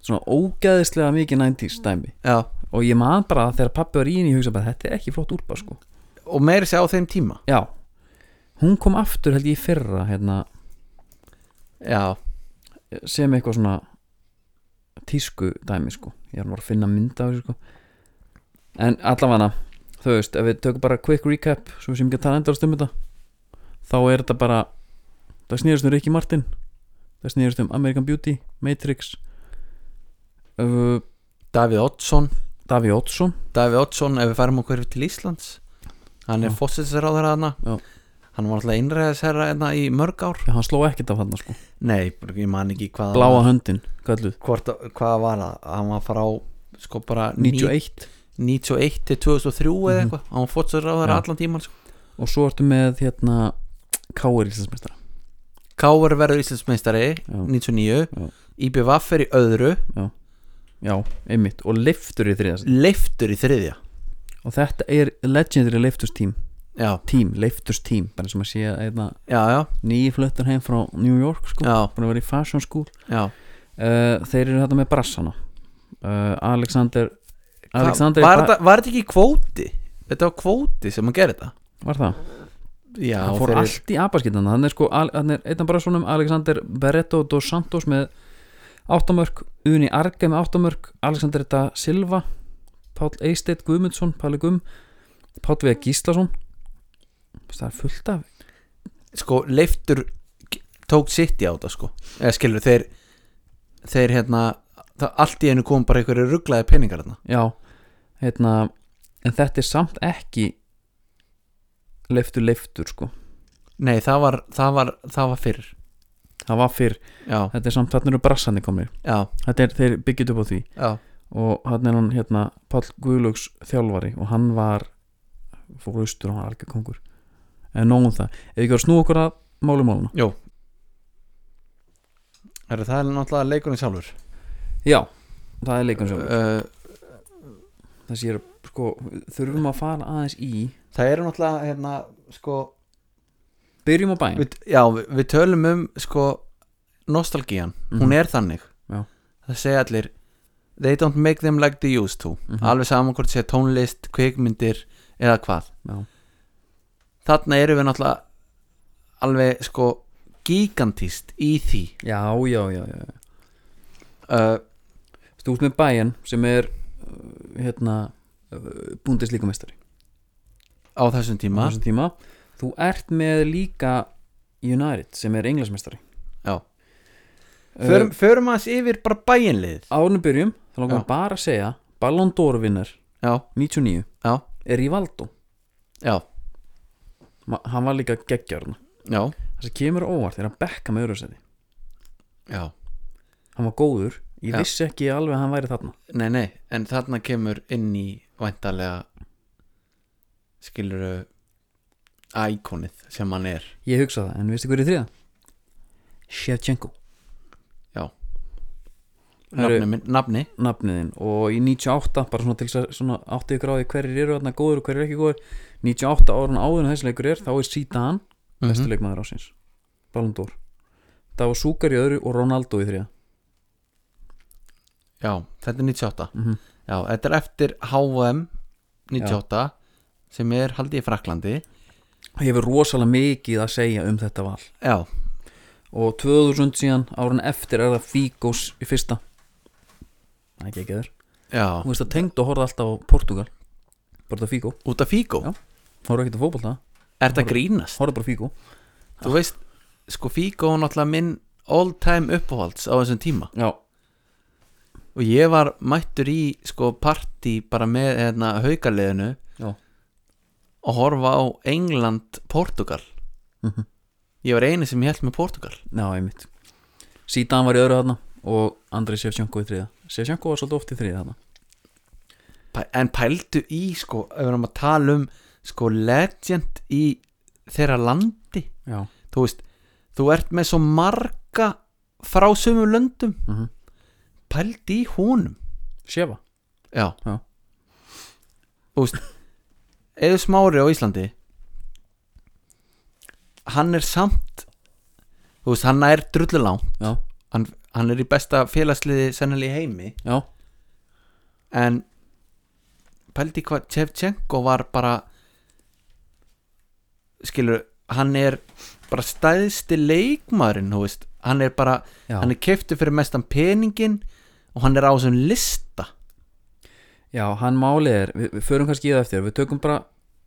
Speaker 1: svona ógæðislega mikið 90s dæmi
Speaker 2: já
Speaker 1: og ég man bara að þegar pappi var í henni ég hugsa bara þetta er ekki flott úlpa sko
Speaker 2: og meiri sér á þeim tíma
Speaker 1: já hún kom aftur held ég í fyrra hérna
Speaker 2: já,
Speaker 1: sem eitthvað svona tísku dæmi sko ég er nú að finna mynda á þessu sko en allavega þú veist ef við tökum bara quick recap svo sem ekki að tala endast um þetta þá er þetta bara það snýðist um Ricky Martin það snýðist um American Beauty, Matrix öfu,
Speaker 2: Davíð Oddsson
Speaker 1: Daví Oddsson
Speaker 2: Davíð Oddsson, ef við færum okkur til Íslands hann er
Speaker 1: Já.
Speaker 2: fósinsráður hana
Speaker 1: Já.
Speaker 2: hann var alltaf innræðisherra hérna í mörg ár
Speaker 1: já, hann sló ekkert af hann sko
Speaker 2: Nei, bara ég man ekki hvað
Speaker 1: bláa höndin, kalluð
Speaker 2: hvort, Hvað var það? Hann var frá sko bara ní-
Speaker 1: 91
Speaker 2: 91 til 2003 eða
Speaker 1: Mhm.
Speaker 2: eitthvað Hann var fótsur á
Speaker 1: Já.
Speaker 2: þeirra allan tíman sko.
Speaker 1: og svo ertu með hérna Káir Íslandsmeistra
Speaker 2: Káver verður Íslandsmeistari
Speaker 1: Já.
Speaker 2: 99
Speaker 1: Já.
Speaker 2: IBVF er í öðru
Speaker 1: já, einmitt, og leiftur í þriðast
Speaker 2: Leiftur í þriðja
Speaker 1: og þetta er legendary leiftustím
Speaker 2: Já,
Speaker 1: tím, leifturs tím bara sem að sé að einna
Speaker 2: já, já,
Speaker 1: nýflöttur heim frá New York sko,
Speaker 2: já,
Speaker 1: búin að vera í fashion school
Speaker 2: já.
Speaker 1: uh, þeir eru þetta með brassana uh, Alexander Alexander
Speaker 2: var,
Speaker 1: er
Speaker 2: þetta, var þetta ekki kvóti? Þetta var kvóti sem að gera þetta
Speaker 1: var það,
Speaker 2: Já,
Speaker 1: hann fór allt í abaskitana hann er sko, al- hann er einn af brassunum Alexander Barreto dos Santos með áttamörk, Uni Arge með áttamörk Alexander da Silva Páll Eistedt Guðmundsson, Páli Gumm Páll Vega Gíslason það er fullt af
Speaker 2: sko leiftur tók sitt í á þetta sko eða skilur þeir þeir hérna það, allt í einu kom bara einhverju rugglaði peningar hérna
Speaker 1: Já, hérna En þetta er samt ekki Leiftur, leiftur sko
Speaker 2: nei það var það var, það var fyrr
Speaker 1: Það var fyrr,
Speaker 2: já,
Speaker 1: þetta er samt Þarna eru brassandi komnir,
Speaker 2: já,
Speaker 1: þetta er þeir byggjit upp á því
Speaker 2: já,
Speaker 1: Og hann er hann hérna Páll Guðlaugs þjálfari og hann var Fór austur og hann var algjör kongur En nógum það, ef ekki var að snúa okkur að Málum máluna
Speaker 2: jú er það er náttúrulega leikurinn sjálfur
Speaker 1: Já, það er leikun sem
Speaker 2: uh,
Speaker 1: Þessi er sko, þurfum að fara aðeins í
Speaker 2: það eru náttúrulega hérna sko
Speaker 1: Byrjum á bæn
Speaker 2: við, já, við, við tölum um sko nostalgían, hún er þannig
Speaker 1: Mhm. Já.
Speaker 2: það segja allir they don't make them like they used to
Speaker 1: Mhm.
Speaker 2: alveg saman hvort segja tónlist, kvikmyndir eða hvað
Speaker 1: Já,
Speaker 2: þarna erum við náttúrulega alveg sko gigantist í því
Speaker 1: Mhm. já, já, já, já.
Speaker 2: uh,
Speaker 1: Stúst með Bayern sem er uh, hérna búndislíkamestari
Speaker 2: á þessum
Speaker 1: á
Speaker 2: tíma
Speaker 1: þessum tíma þú ert með líka United sem er englasmestari
Speaker 2: já.
Speaker 1: Eh.
Speaker 2: Förum, förum aðeins yfir bara bæinlið
Speaker 1: Árnum byrjum, þá langar
Speaker 2: Já.
Speaker 1: við bara að segja Ballon d'Or vinnar
Speaker 2: já,
Speaker 1: 99
Speaker 2: já,
Speaker 1: er í Valdó
Speaker 2: já,
Speaker 1: hann var líka geggjörna
Speaker 2: já,
Speaker 1: það sem kemur á óvart er að bekka með öðrusæti
Speaker 2: já.
Speaker 1: hann var góður, ég
Speaker 2: Já.
Speaker 1: vissi ekki alveg að hann væri þarna
Speaker 2: Nei, nei, en þarna kemur inn í væntalega skilur ækonið sem hann er
Speaker 1: ég hugsa það, en veistu hver er í þriða? Shevchenko, Herru.
Speaker 2: nafni, minn, nafni
Speaker 1: nafniðin og í 98, bara svona til þess að svona átti ykkur á því hverjir eru þarna góður og hverjir ekki góður 98 árun áður en þessi leikur er þá er Zidane bestu
Speaker 2: Mhm.
Speaker 1: leikmaður ásins Ballon d'Or það var Súkar í öðru og Ronaldo í þrjá
Speaker 2: Já, þetta er 98
Speaker 1: mm -hmm.
Speaker 2: Já, þetta er eftir HM 98 sem er haldið í Fraklandi
Speaker 1: hefur rosalega mikið að segja um þetta val
Speaker 2: Já,
Speaker 1: og 2000 síðan árun eftir er það Fíkós í fyrsta það er ekki ekki þér
Speaker 2: já,
Speaker 1: þú veist að tengd og horfði alltaf á Portugal bara það Fíkó,
Speaker 2: út af Fíkó
Speaker 1: Já. horfði ekkert að fótbolta
Speaker 2: Er þetta grínast?
Speaker 1: horfðu bara á fíku
Speaker 2: Þú veist, sko Figo var náttúrulega minn all time uppáhalds á þessum tíma
Speaker 1: já,
Speaker 2: og ég var mættur í sko partí bara með hérna haukaliðinu
Speaker 1: já,
Speaker 2: og horfa á England, Portugal
Speaker 1: Mhm.
Speaker 2: Ég var eini sem held með Portugal
Speaker 1: já, einmitt Sítan var í öðru þarna og Andrei Sjefsjanko í þriða Sjefsjanko var svolítið oft í þriða þarna
Speaker 2: Pæ- En pældu í sko, ef við erum að tala um sko legend í þeirra landi
Speaker 1: já,
Speaker 2: þú veist, þú ert með svo marga frá sömu löndum
Speaker 1: Mhm.
Speaker 2: pældi í honum
Speaker 1: Sjefa
Speaker 2: já,
Speaker 1: Já.
Speaker 2: þú veist eða smári á Íslandi hann er samt þú veist, hann er drullulá
Speaker 1: já,
Speaker 2: hann, hann er í besta félagsliði sennilega í heimi
Speaker 1: já,
Speaker 2: en pældi hvað Tjevchenko var bara skilur hann er bara stæðsti leikmaðurinn þú veist, hann er bara
Speaker 1: já.
Speaker 2: hann er keiftu fyrir mestan peningin og hann er á þessum lista
Speaker 1: Já, hann málið er, við, við förum kannski í það eftir Við tökum bara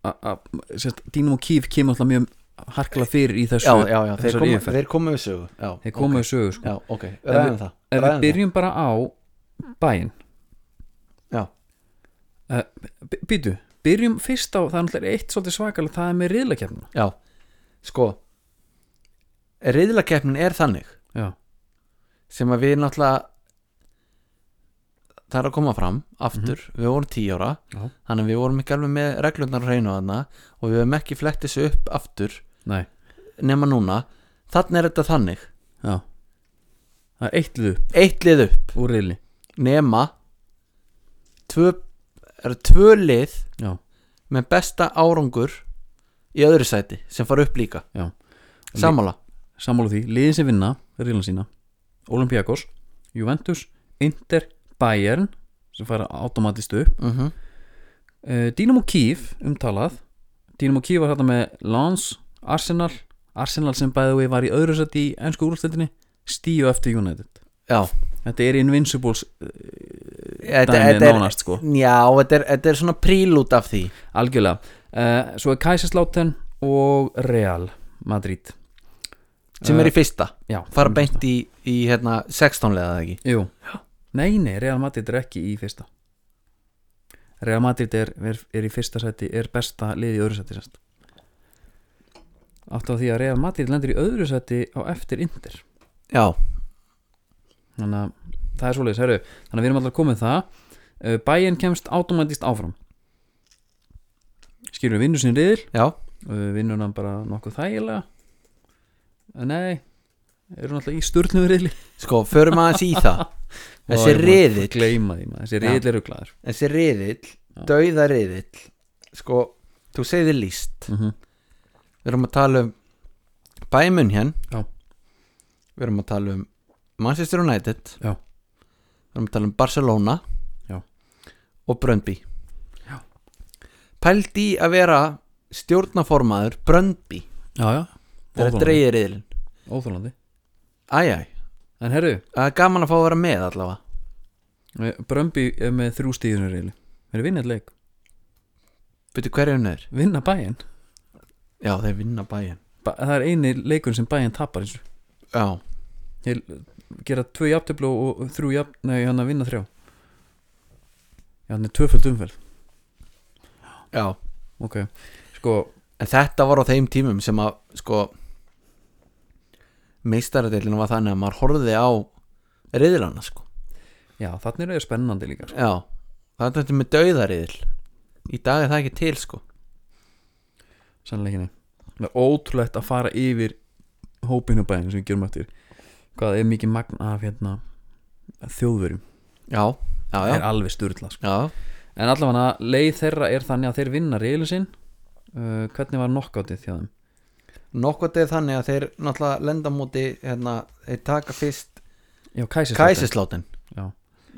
Speaker 1: a- a- sérst, Dínum og Kíf kemur alltaf mjög harkala fyrir í þessu
Speaker 2: þeir
Speaker 1: þessari
Speaker 2: komu,
Speaker 1: yfirferð.
Speaker 2: þeir komu við sögu já,
Speaker 1: Þeir komu okay. sögu sko.
Speaker 2: já, ok,
Speaker 1: En
Speaker 2: ræðum það
Speaker 1: Ef við
Speaker 2: ræðum
Speaker 1: byrjum bara á bæinn
Speaker 2: það. já,
Speaker 1: B- Býtu, byrjum fyrst á, það er náttúrulega eitt svolítið svakalega Það er með riðlakefnina
Speaker 2: já, sko reyðlakeppnin er þannig
Speaker 1: Já,
Speaker 2: sem að við náttúrulega það er að koma fram aftur, við vorum 10 ára
Speaker 1: Mhm. Já.
Speaker 2: þannig að við vorum ekki alveg með reglurnar á hreinu þarna og við hefum ekki flett þessu upp aftur
Speaker 1: nei,
Speaker 2: nema núna þannig er þetta þannig,
Speaker 1: já Það er eitt lið
Speaker 2: eitt lið upp
Speaker 1: úr riðli
Speaker 2: nema tvö, er tvö lið
Speaker 1: Já,
Speaker 2: með besta árangur í öðru sæti sem fara upp líka
Speaker 1: já,
Speaker 2: samála
Speaker 1: sammála því Liðin sem vinna, riðlan sína Olympiakos, Juventus, Inter, Bayern sem fara automatist upp
Speaker 2: mm -hmm.
Speaker 1: uh, Dynamo Kiev umtalað Dynamo Kiev var þetta með Lance, Arsenal Arsenal sem bæði við var í öðru sett í ennsku úrstættinni stíu eftir United
Speaker 2: já
Speaker 1: Þetta er Invincibles
Speaker 2: þetta,
Speaker 1: dæmi
Speaker 2: þetta er,
Speaker 1: nánast sko
Speaker 2: já, þetta, er, þetta er svona prílút af því
Speaker 1: algjörlega uh, Svo er Kaiserslautern og Real Madrid Eh,
Speaker 2: sem er í fyrsta
Speaker 1: Já,
Speaker 2: fara beint í, í hérna, 16 leða eða ekki
Speaker 1: Jú, nei, nei, Real Madrid er ekki í fyrsta Real Madrid er, er, er í fyrsta seti er besta liði í öðru seti sérst Átt á því að Real Madrid lendir í öðru seti á eftir Inter
Speaker 2: já,
Speaker 1: þannig að það er svoleiðis, herru þannig að við erum alltaf komið það Uh, bæinn kemst automatist áfram skilur við vinnur sinni riðil
Speaker 2: já,
Speaker 1: uh, vinnur hann bara nokkuð þægilega Uh, nei eru hann alltaf í sturnum riðli
Speaker 2: sko, förum aðeins í það
Speaker 1: Ó, ég
Speaker 2: þessi
Speaker 1: er búinn að
Speaker 2: riðill
Speaker 1: gleyma því maður, þessi
Speaker 2: Já.
Speaker 1: riðil eru glæður
Speaker 2: þessi riðill, dauða riðill sko, þú segir þið líst
Speaker 1: mm -hmm.
Speaker 2: við erum að tala um Bæmun hér
Speaker 1: Já.
Speaker 2: við erum að tala um Manchester United
Speaker 1: Já.
Speaker 2: við erum að tala um Barcelona
Speaker 1: Já.
Speaker 2: og Bröndby
Speaker 1: Já.
Speaker 2: pælt í að vera stjórnaformaður Bröndby
Speaker 1: já, já,
Speaker 2: þegar
Speaker 1: Óþolandi.
Speaker 2: dreigir yðurinn
Speaker 1: óþólandi
Speaker 2: æjæj,
Speaker 1: en herru,
Speaker 2: það er gaman að fá að vera með allavega
Speaker 1: Brömbi er með þrjú stíðunar riðli þeir vinna eitt leik,
Speaker 2: veitu hverju hún er?
Speaker 1: vinna bæinn
Speaker 2: já, þeir vinna bæin
Speaker 1: ba það er eini leikur sem bæinn tapar eins og
Speaker 2: já,
Speaker 1: Ég gera tvö jafntöflu og og þrjú jafn nei, hann að vinna þrjá já, hann er tvöföld umferð
Speaker 2: já
Speaker 1: ok, sko,
Speaker 2: En þetta var á þeim tímum sem að sko meistaradeilin var þannig að maður horfði á riðilana sko
Speaker 1: já, þannig er það spennandi líka sko.
Speaker 2: Já, það er þetta með dauðariðil Í dag er það ekki til sko
Speaker 1: sannleikinni, það er ótrúlegt að fara yfir hópinu bæðin sem við gerum eftir hvað er mikið magn af hérna þjóðverjum,
Speaker 2: Já, já,
Speaker 1: það
Speaker 2: já,
Speaker 1: er alveg styrla sko.
Speaker 2: já.
Speaker 1: en allavega leið þeirra er þannig að þeir vinna reilin sinn uh, hvernig var nokkáttið hjá þeim
Speaker 2: Nokkvæmt er þannig að þeir náttúrulega lenda á móti hérna, þeir taka fyrst
Speaker 1: já, Kæsisláttinn
Speaker 2: Kæsislátin
Speaker 1: já,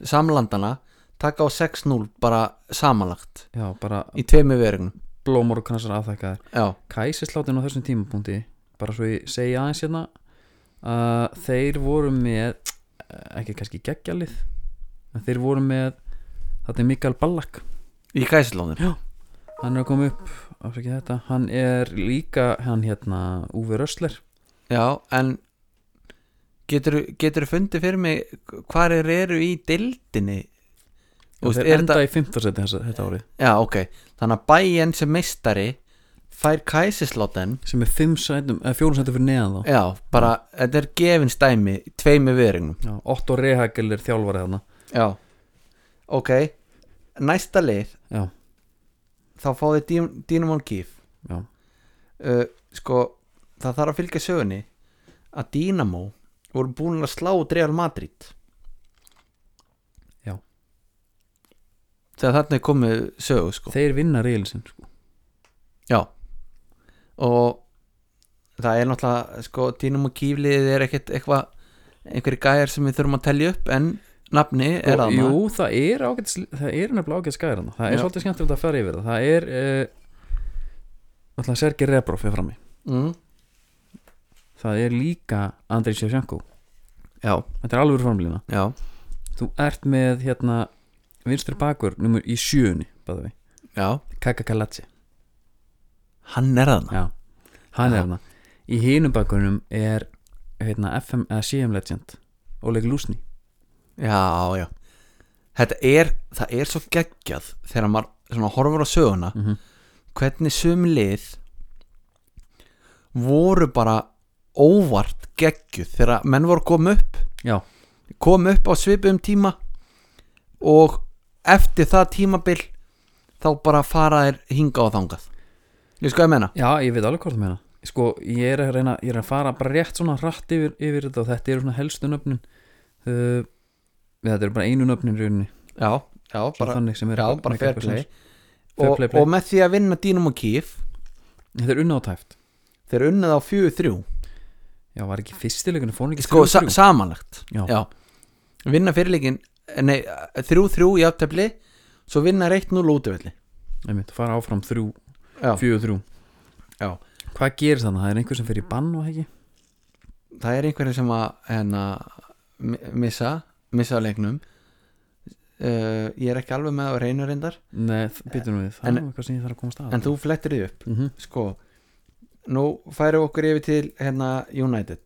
Speaker 2: samlandana, taka á 6-0 bara samanlagt
Speaker 1: já, bara
Speaker 2: í tveimu verignum
Speaker 1: blómor og kransar afþakkaðir
Speaker 2: Já,
Speaker 1: Kæsisláttinn á þessum tímapunkti bara svo ég segja aðeins hérna uh, þeir voru með eh, ekki kannski geggjalið en þeir voru með þetta er Mikael Ballack
Speaker 2: í Kæsislátin
Speaker 1: hann er að koma upp afsakið þetta hann er líka hann hérna Úfi Rössler
Speaker 2: Já, en getur, getur fundið fyrir mig hvað er eru í deildinni Þú veist,
Speaker 1: þeir
Speaker 2: er
Speaker 1: enda í 15 seti þessa, þetta árið
Speaker 2: Já, ok, þannig að bæinn sem meistari fær kæsislotten
Speaker 1: sem er 5 sætum, eða 4 sætum fyrir neðan þá
Speaker 2: Já, bara, þetta er gefins dæmi tveimu veriðnum
Speaker 1: Já, Otto Rehagel er þjálfarið þarna
Speaker 2: Já, ok Næsta lið,
Speaker 1: Já,
Speaker 2: þá fáði Dínamón Gíf
Speaker 1: já,
Speaker 2: uh, Sko, það þarf að fylgja sögunni að Dínamó voru búin að slá Real Madrid
Speaker 1: Já.
Speaker 2: Þegar þarna er komið sögu, sko
Speaker 1: þeir vinna reilsinn sko.
Speaker 2: Já og það er náttúrulega sko Dínum og Kífliðið er ekkert eitthvað einhverjir gæjar sem við þurfum að telja upp en nafni er
Speaker 1: Og-
Speaker 2: að
Speaker 1: Jú, það er ágætis það er nefnilega ágætis skæðir þarna það er
Speaker 2: Já.
Speaker 1: svolítið skemmtilegt að fara yfir það það er uh, alltaf Sergi Rebrov er frammi
Speaker 2: mm,
Speaker 1: það er líka Andrei Sjafsjanko
Speaker 2: Já,
Speaker 1: þetta er alveg framlýna
Speaker 2: já,
Speaker 1: þú ert með hérna vinstri bakur numur í sjöunni bæði við
Speaker 2: já
Speaker 1: Kaka Kalatsi
Speaker 2: Hann er að
Speaker 1: já hann
Speaker 2: Já.
Speaker 1: er hérna í hinum bakunum er hérna FM eða CM Legend Oleg Lusni
Speaker 2: Já, já Þetta er, það er svo geggjað þegar maður svona horfur á söguna
Speaker 1: mm -hmm.
Speaker 2: hvernig sum lið voru bara óvart geggjuð þegar menn voru kom upp
Speaker 1: já
Speaker 2: kom upp á svipum tíma og eftir það tímabil þá bara fara þér hinga og þangað ég sko að menna
Speaker 1: já ég veit alveg hvort það meina sko ég er að reyna ég er að fara bara rétt svona rætt yfir, yfir þetta og þetta eru svona helstu nöfnin uh, við þetta eru bara einu nöfnin í rauninni
Speaker 2: já, já,
Speaker 1: bara, þannig sem er
Speaker 2: já, bara fair play.
Speaker 1: Fair
Speaker 2: Og,
Speaker 1: play, play.
Speaker 2: og með því að vinna Dínum og Kíf
Speaker 1: þetta er unnátæft
Speaker 2: þeir unnið á 4-3
Speaker 1: já var ekki fyrstilegunni fór hann ekki
Speaker 2: sko, sa
Speaker 1: 3-3?
Speaker 2: samanlegt
Speaker 1: Já.
Speaker 2: vinna fyrirleikin nei, 3-3 í aftefli svo vinna reitt 0 útifelli
Speaker 1: Einmitt, fara áfram þrjú,
Speaker 2: já,
Speaker 1: fjögur þrjú
Speaker 2: Já.
Speaker 1: Hvað gerir þannig? Það er einhver sem fer í bann og ekki?
Speaker 2: það er einhverjum sem að hérna, mi- missa missa á leiknum uh, ég er ekki alveg með á reynu reyndar
Speaker 1: Nei, býtum við, það
Speaker 2: En-
Speaker 1: er nú eitthvað sem ég þarf að komast að
Speaker 2: En þú flettir því upp
Speaker 1: mm
Speaker 2: Sko, nú færum við okkur yfir til hérna United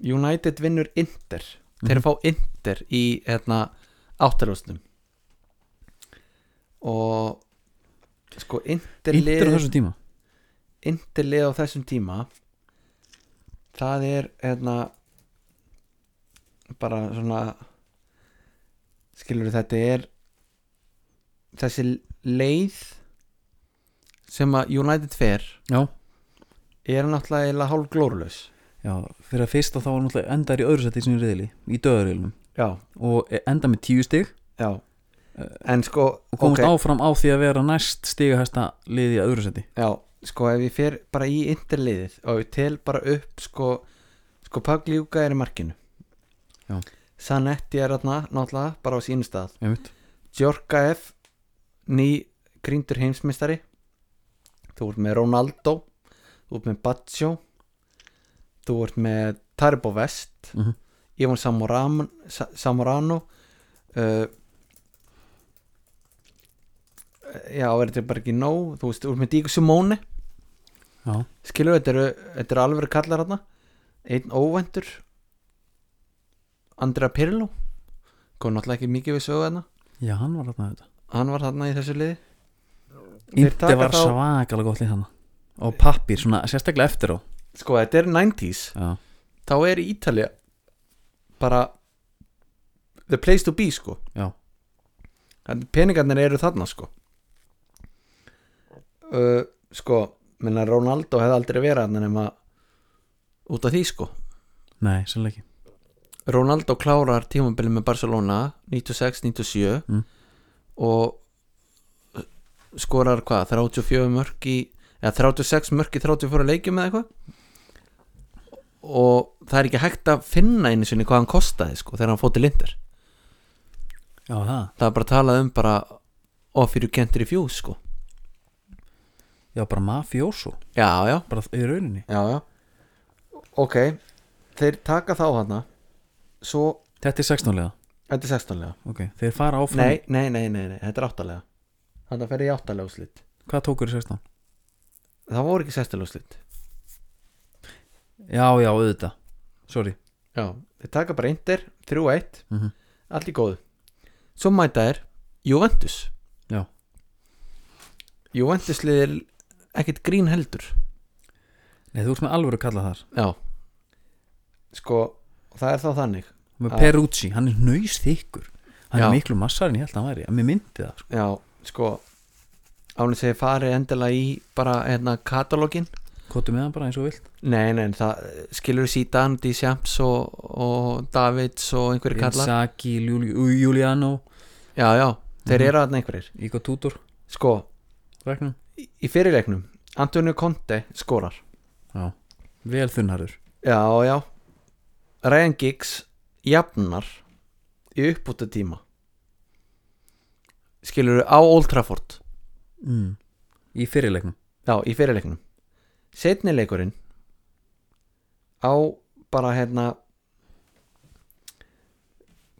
Speaker 2: United vinnur Inter Þeir
Speaker 1: Mhm.
Speaker 2: fá Inter í hérna áttaljóstum Og sko Inter,
Speaker 1: Índir á
Speaker 2: lið-
Speaker 1: þessum tíma
Speaker 2: Inter lið á þessum tíma Það er hérna bara svona skilur þetta er þessi leið sem að United fer
Speaker 1: Já,
Speaker 2: er náttúrulega eiginlega hálf glórulaus
Speaker 1: já, fyrir að fyrsta þá var náttúrulega endar í öðru sætti í sinni reyðli Í döðurilnum
Speaker 2: Já,
Speaker 1: Og enda með tíu stig
Speaker 2: já En sko,
Speaker 1: Eh, Og komast
Speaker 2: ok,
Speaker 1: áfram á því að vera næst stigahæsta liði í öðru sætti
Speaker 2: já, sko ef ég fer bara í interliðið og ég tel bara upp sko, sko Pagljúka er í markinu
Speaker 1: Já.
Speaker 2: Sanetti er þarna náttúrulega bara á sínu stað
Speaker 1: Einmitt.
Speaker 2: Djorka F ný gríndur heimsmeistari þú ert með Ronaldo þú ert með Baccio þú ert með Tarbo Vest
Speaker 1: Mhm.
Speaker 2: Ivan Samoram, Sa- Samorano uh, já, er þetta bara ekki nóg þú veist, þú ert með Díku Simone
Speaker 1: Já,
Speaker 2: skilur þetta eru, þetta eru alveg kallar hérna einn óvendur Andra Pirlo kom náttúrulega ekki mikið við sögu hérna
Speaker 1: já, hann var þarna þetta
Speaker 2: hann var þarna í þessu liði Þeir taka
Speaker 1: Índir var
Speaker 2: þá-
Speaker 1: svakalega gott lið hann Og pappir, svona sérstaklega eftir á
Speaker 2: sko þetta er 90s
Speaker 1: Já,
Speaker 2: þá er Ítalja bara the place to be sko
Speaker 1: já,
Speaker 2: En peningarnir eru þarna sko uh, sko menna Ronaldo hefði aldrei verið hann nema út af því sko
Speaker 1: nei, sannlega ekki
Speaker 2: Ronaldo klárar tímabilið með Barcelona 96-97
Speaker 1: Mm.
Speaker 2: og uh, skorar hvað 34 mörg í eða 36 mörg í 34 leikjum eða eitthvað og það er ekki hægt að finna einu sinni hvað hann kostaði sko þegar hann fótti lindir
Speaker 1: Já, það
Speaker 2: það er bara talað um bara og fyrir kentir í fjús sko
Speaker 1: Já, bara mafjóso
Speaker 2: já já
Speaker 1: Bara í rauninni
Speaker 2: já já ok þeir taka þá hana svo
Speaker 1: Þetta er 16 liða
Speaker 2: þetta er 16 lega
Speaker 1: Ok, þeir fara áfram
Speaker 2: Nei, nei, nei, nei, nei, þetta er áttalega Þannig að fer í áttalega úslit
Speaker 1: Hvað tókur í 16?
Speaker 2: það voru ekki sestilúslit
Speaker 1: Já, já, auðvitað Sorry
Speaker 2: já, þeir taka bara Inter 3-1,
Speaker 1: mm
Speaker 2: allt í góðu svo mæta er Juventus
Speaker 1: Já.
Speaker 2: Juventus liðir ekkit grín heldur
Speaker 1: Nei, þú ert svona alvöru kalla þar
Speaker 2: já sko, það er þá þannig
Speaker 1: Með
Speaker 2: Ah.
Speaker 1: Perucci, hann er nöys þykkur Hann
Speaker 2: Já.
Speaker 1: er miklu massar en ég held að hann væri Mér myndi það, sko
Speaker 2: já, sko ánum segi farið endilega í bara hérna katalógin
Speaker 1: Kottu með hann bara eins og þú vilt
Speaker 2: Nei, nei, en það skilur Sítan, Dísjamps og, og Davids og einhverjir kallar
Speaker 1: Insaki, Júli- Ú- Juliano
Speaker 2: Já, já, þeir
Speaker 1: Mhm.
Speaker 2: eru þarna einhverjir
Speaker 1: Íko Tudor,
Speaker 2: Sko,
Speaker 1: regnum
Speaker 2: í- í fyrirleiknum Antonio Conte skorar
Speaker 1: Já, vel þunnharður
Speaker 2: Já, já Ryan Giggs jafnar í uppbúta tíma Skilur á Old Trafford
Speaker 1: mm. Í fyrirleiknum
Speaker 2: Já, í fyrirleiknum Setni leikurinn á bara hérna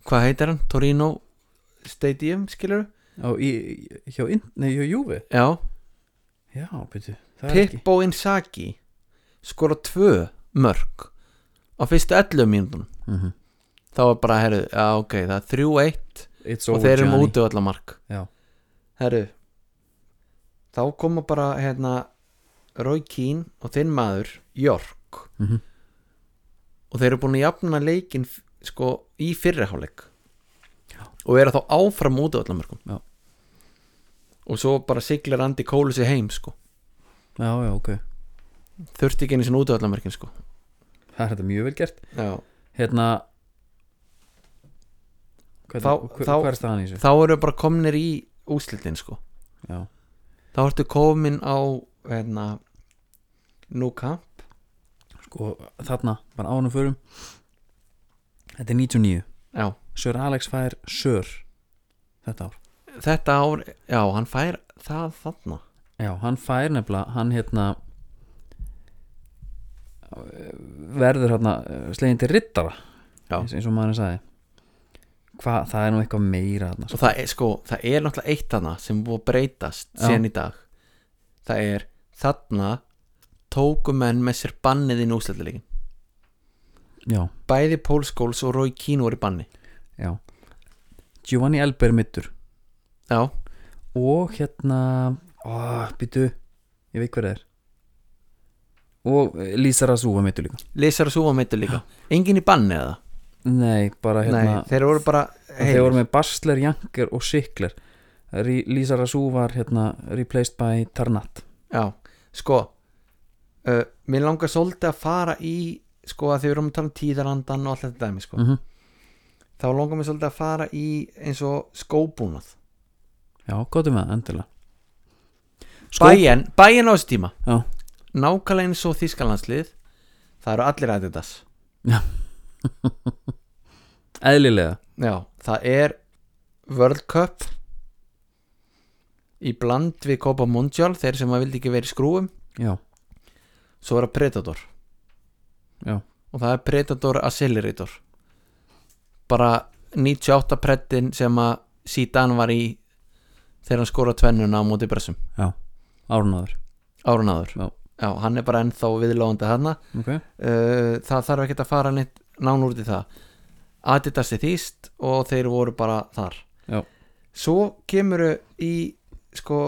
Speaker 2: hvað heitir hann? Torino Stadium, skilur
Speaker 1: Á, í, hjá, inn, nei, hjá Júfi
Speaker 2: Já,
Speaker 1: Já, byrju, það er ekki
Speaker 2: Pippo Inzaghi skora tvö mörg á fyrstu 11 mínútum
Speaker 1: mm -hmm.
Speaker 2: þá var bara, herru, já ok, það er 3-1 og þeir eru með útöðallamark
Speaker 1: Já.
Speaker 2: herru þá koma bara hérna Roy Keane og þinn maður York
Speaker 1: mm -hmm.
Speaker 2: og þeir eru búin að jafna leikin f- sko í fyrriháleik og eru þá áfram út af allan mörgum
Speaker 1: Já.
Speaker 2: og svo bara siglir Andy Cole sér heim sko
Speaker 1: Já, já, ok
Speaker 2: þurfti ekki einu sinni út af allan mörgum sko
Speaker 1: Það er þetta mjög vel gert
Speaker 2: Já.
Speaker 1: Hérna Hvað,
Speaker 2: Þá-
Speaker 1: hver,
Speaker 2: þá-
Speaker 1: hvað er staðan í þessu?
Speaker 2: þá eru bara komnir í úslitin sko
Speaker 1: Já,
Speaker 2: þá ertu komin á hérna núka
Speaker 1: sko, þarna, bara ánum förum Þetta er 99
Speaker 2: já.
Speaker 1: Sir Alex fær Sir Þetta ár
Speaker 2: þetta ár, já hann fær það þarna
Speaker 1: Já, hann fær nefnilega, hann hérna verður hérna slegin til rittara
Speaker 2: Já.
Speaker 1: eins, eins og maðurinn sagði Hvað, það er nú eitthvað meira þarna,
Speaker 2: og það er sko, það er náttúrulega eitt hana sem búið að breytast
Speaker 1: Já.
Speaker 2: síðan í dag það er þarna tóku menn með sér bannið inn í úslættilegin
Speaker 1: Já,
Speaker 2: bæði Paul Scholes og Roy Keane voru í banni
Speaker 1: já Giovanni Elber mittur
Speaker 2: já,
Speaker 1: og hérna ó, býtu, ég veit hver það er og eh, Lisa Razúa mittur líka
Speaker 2: Lysar og Súfa meitur líka engin í banni eða,
Speaker 1: nei, bara hérna
Speaker 2: nei, þeir voru bara
Speaker 1: þeir voru með Basler, Janker og Sikler Rí, Lisa Razú var hérna replaced by Tarnat
Speaker 2: já, sko uh, mér langar svolítið að fara í sko að þeir voru að tala um tíðarandan og allt þetta dæmi sko,
Speaker 1: mm
Speaker 2: þá langar mér svolítið að fara í eins og skóbúnað
Speaker 1: já, gott um það, endilega Skó-
Speaker 2: bæin, bæin á þessu tíma
Speaker 1: já,
Speaker 2: nákvæmlega eins og Þískalandslið það eru allir Adidas
Speaker 1: eðlilega
Speaker 2: já, það er World Cup í bland við Copa Mundial þeir sem að vildi ekki verið skrúum
Speaker 1: já,
Speaker 2: svo er það Predator
Speaker 1: já,
Speaker 2: og það er Predator Accelerator bara 98 prettin sem að Zidane var í þegar hann skora tvennuna á móti bressum
Speaker 1: já árunáður,
Speaker 2: árun áður
Speaker 1: Já.
Speaker 2: já, hann er bara ennþá viðlóðandi hana
Speaker 1: ok
Speaker 2: uh, það þarf ekkert að fara neitt nán úr til það Adidas er þýst og þeir voru bara þar
Speaker 1: Já.
Speaker 2: svo kemur í sko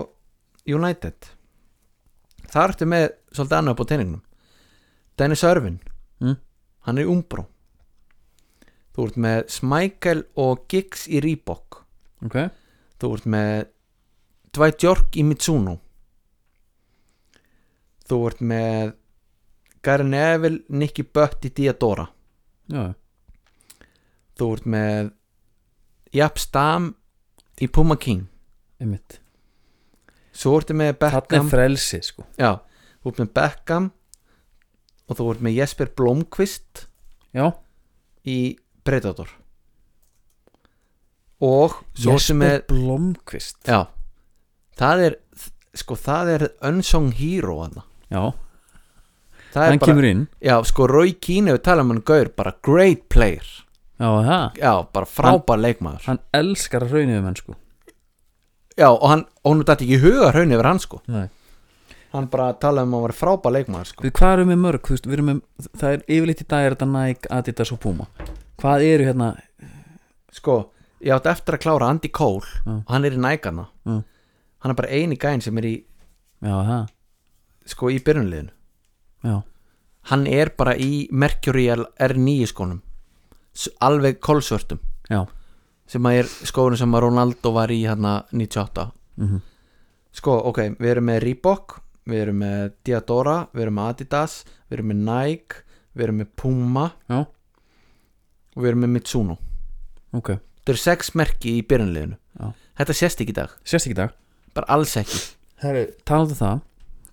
Speaker 2: United þar ertu með svolítið annað upp á teiningnum Dennis Örvin
Speaker 1: Mm.
Speaker 2: hann er í Umbro þú ert með Smækel og Giggs í Reebok
Speaker 1: ok,
Speaker 2: þú ert með Dwight York í Mitsuno þú ert með Gary Neville, Nicky Butt í Diadora
Speaker 1: já, já.
Speaker 2: þú ert með Japp Stam í Puma King
Speaker 1: einmitt
Speaker 2: svo ertu með
Speaker 1: þarna er
Speaker 2: Beckham
Speaker 1: frelsi, sko
Speaker 2: já, þú ert með Beckham og þú ert með Jesper Blomqvist
Speaker 1: já,
Speaker 2: í Predator og svo ertu
Speaker 1: Jesper
Speaker 2: með
Speaker 1: Blomqvist
Speaker 2: já, það er sko það er unsung hero hana.
Speaker 1: Já,
Speaker 2: það er
Speaker 1: hann
Speaker 2: bara
Speaker 1: kemur inn
Speaker 2: Já, sko Roy Keane hefur talað um hann gaur bara great player,
Speaker 1: Já, það
Speaker 2: já, bara frábær leikmaður
Speaker 1: sko. Hann elskar að raunuðu mennsku
Speaker 2: já, og hann, og hann dætti ekki huga hraun yfir hann sko
Speaker 1: Nei.
Speaker 2: hann bara talaði um að hann var frábæð leikmaður sko
Speaker 1: Við, hvað erum við mörg, þú veist, við erum með, það er yfirleitt í dag er þetta Nike, Adidas og Puma Hvað eru hérna,
Speaker 2: sko, ég átti eftir að klára Andy Cole
Speaker 1: Mm.
Speaker 2: og hann er í nægana
Speaker 1: Mm.
Speaker 2: hann er bara eini gæn sem er í
Speaker 1: já það,
Speaker 2: sko í byrjunliðinu
Speaker 1: já,
Speaker 2: hann er bara í Mercury R9 skónum sko, S- alveg kolsvörtum
Speaker 1: já
Speaker 2: sem að er skónu sem að Ronaldo var í hérna 98
Speaker 1: mm
Speaker 2: sko, ok, við erum með Reebok við erum með Diadora, við erum með Adidas við erum með Nike, við erum með Puma
Speaker 1: Já,
Speaker 2: og við erum með Mitsuno
Speaker 1: ok,
Speaker 2: þetta eru sex merki í byrjunliðinu
Speaker 1: Já.
Speaker 2: þetta sést ekki í dag,
Speaker 1: sérst ekki í dag
Speaker 2: bara alls ekki
Speaker 1: Herru, talaðu það,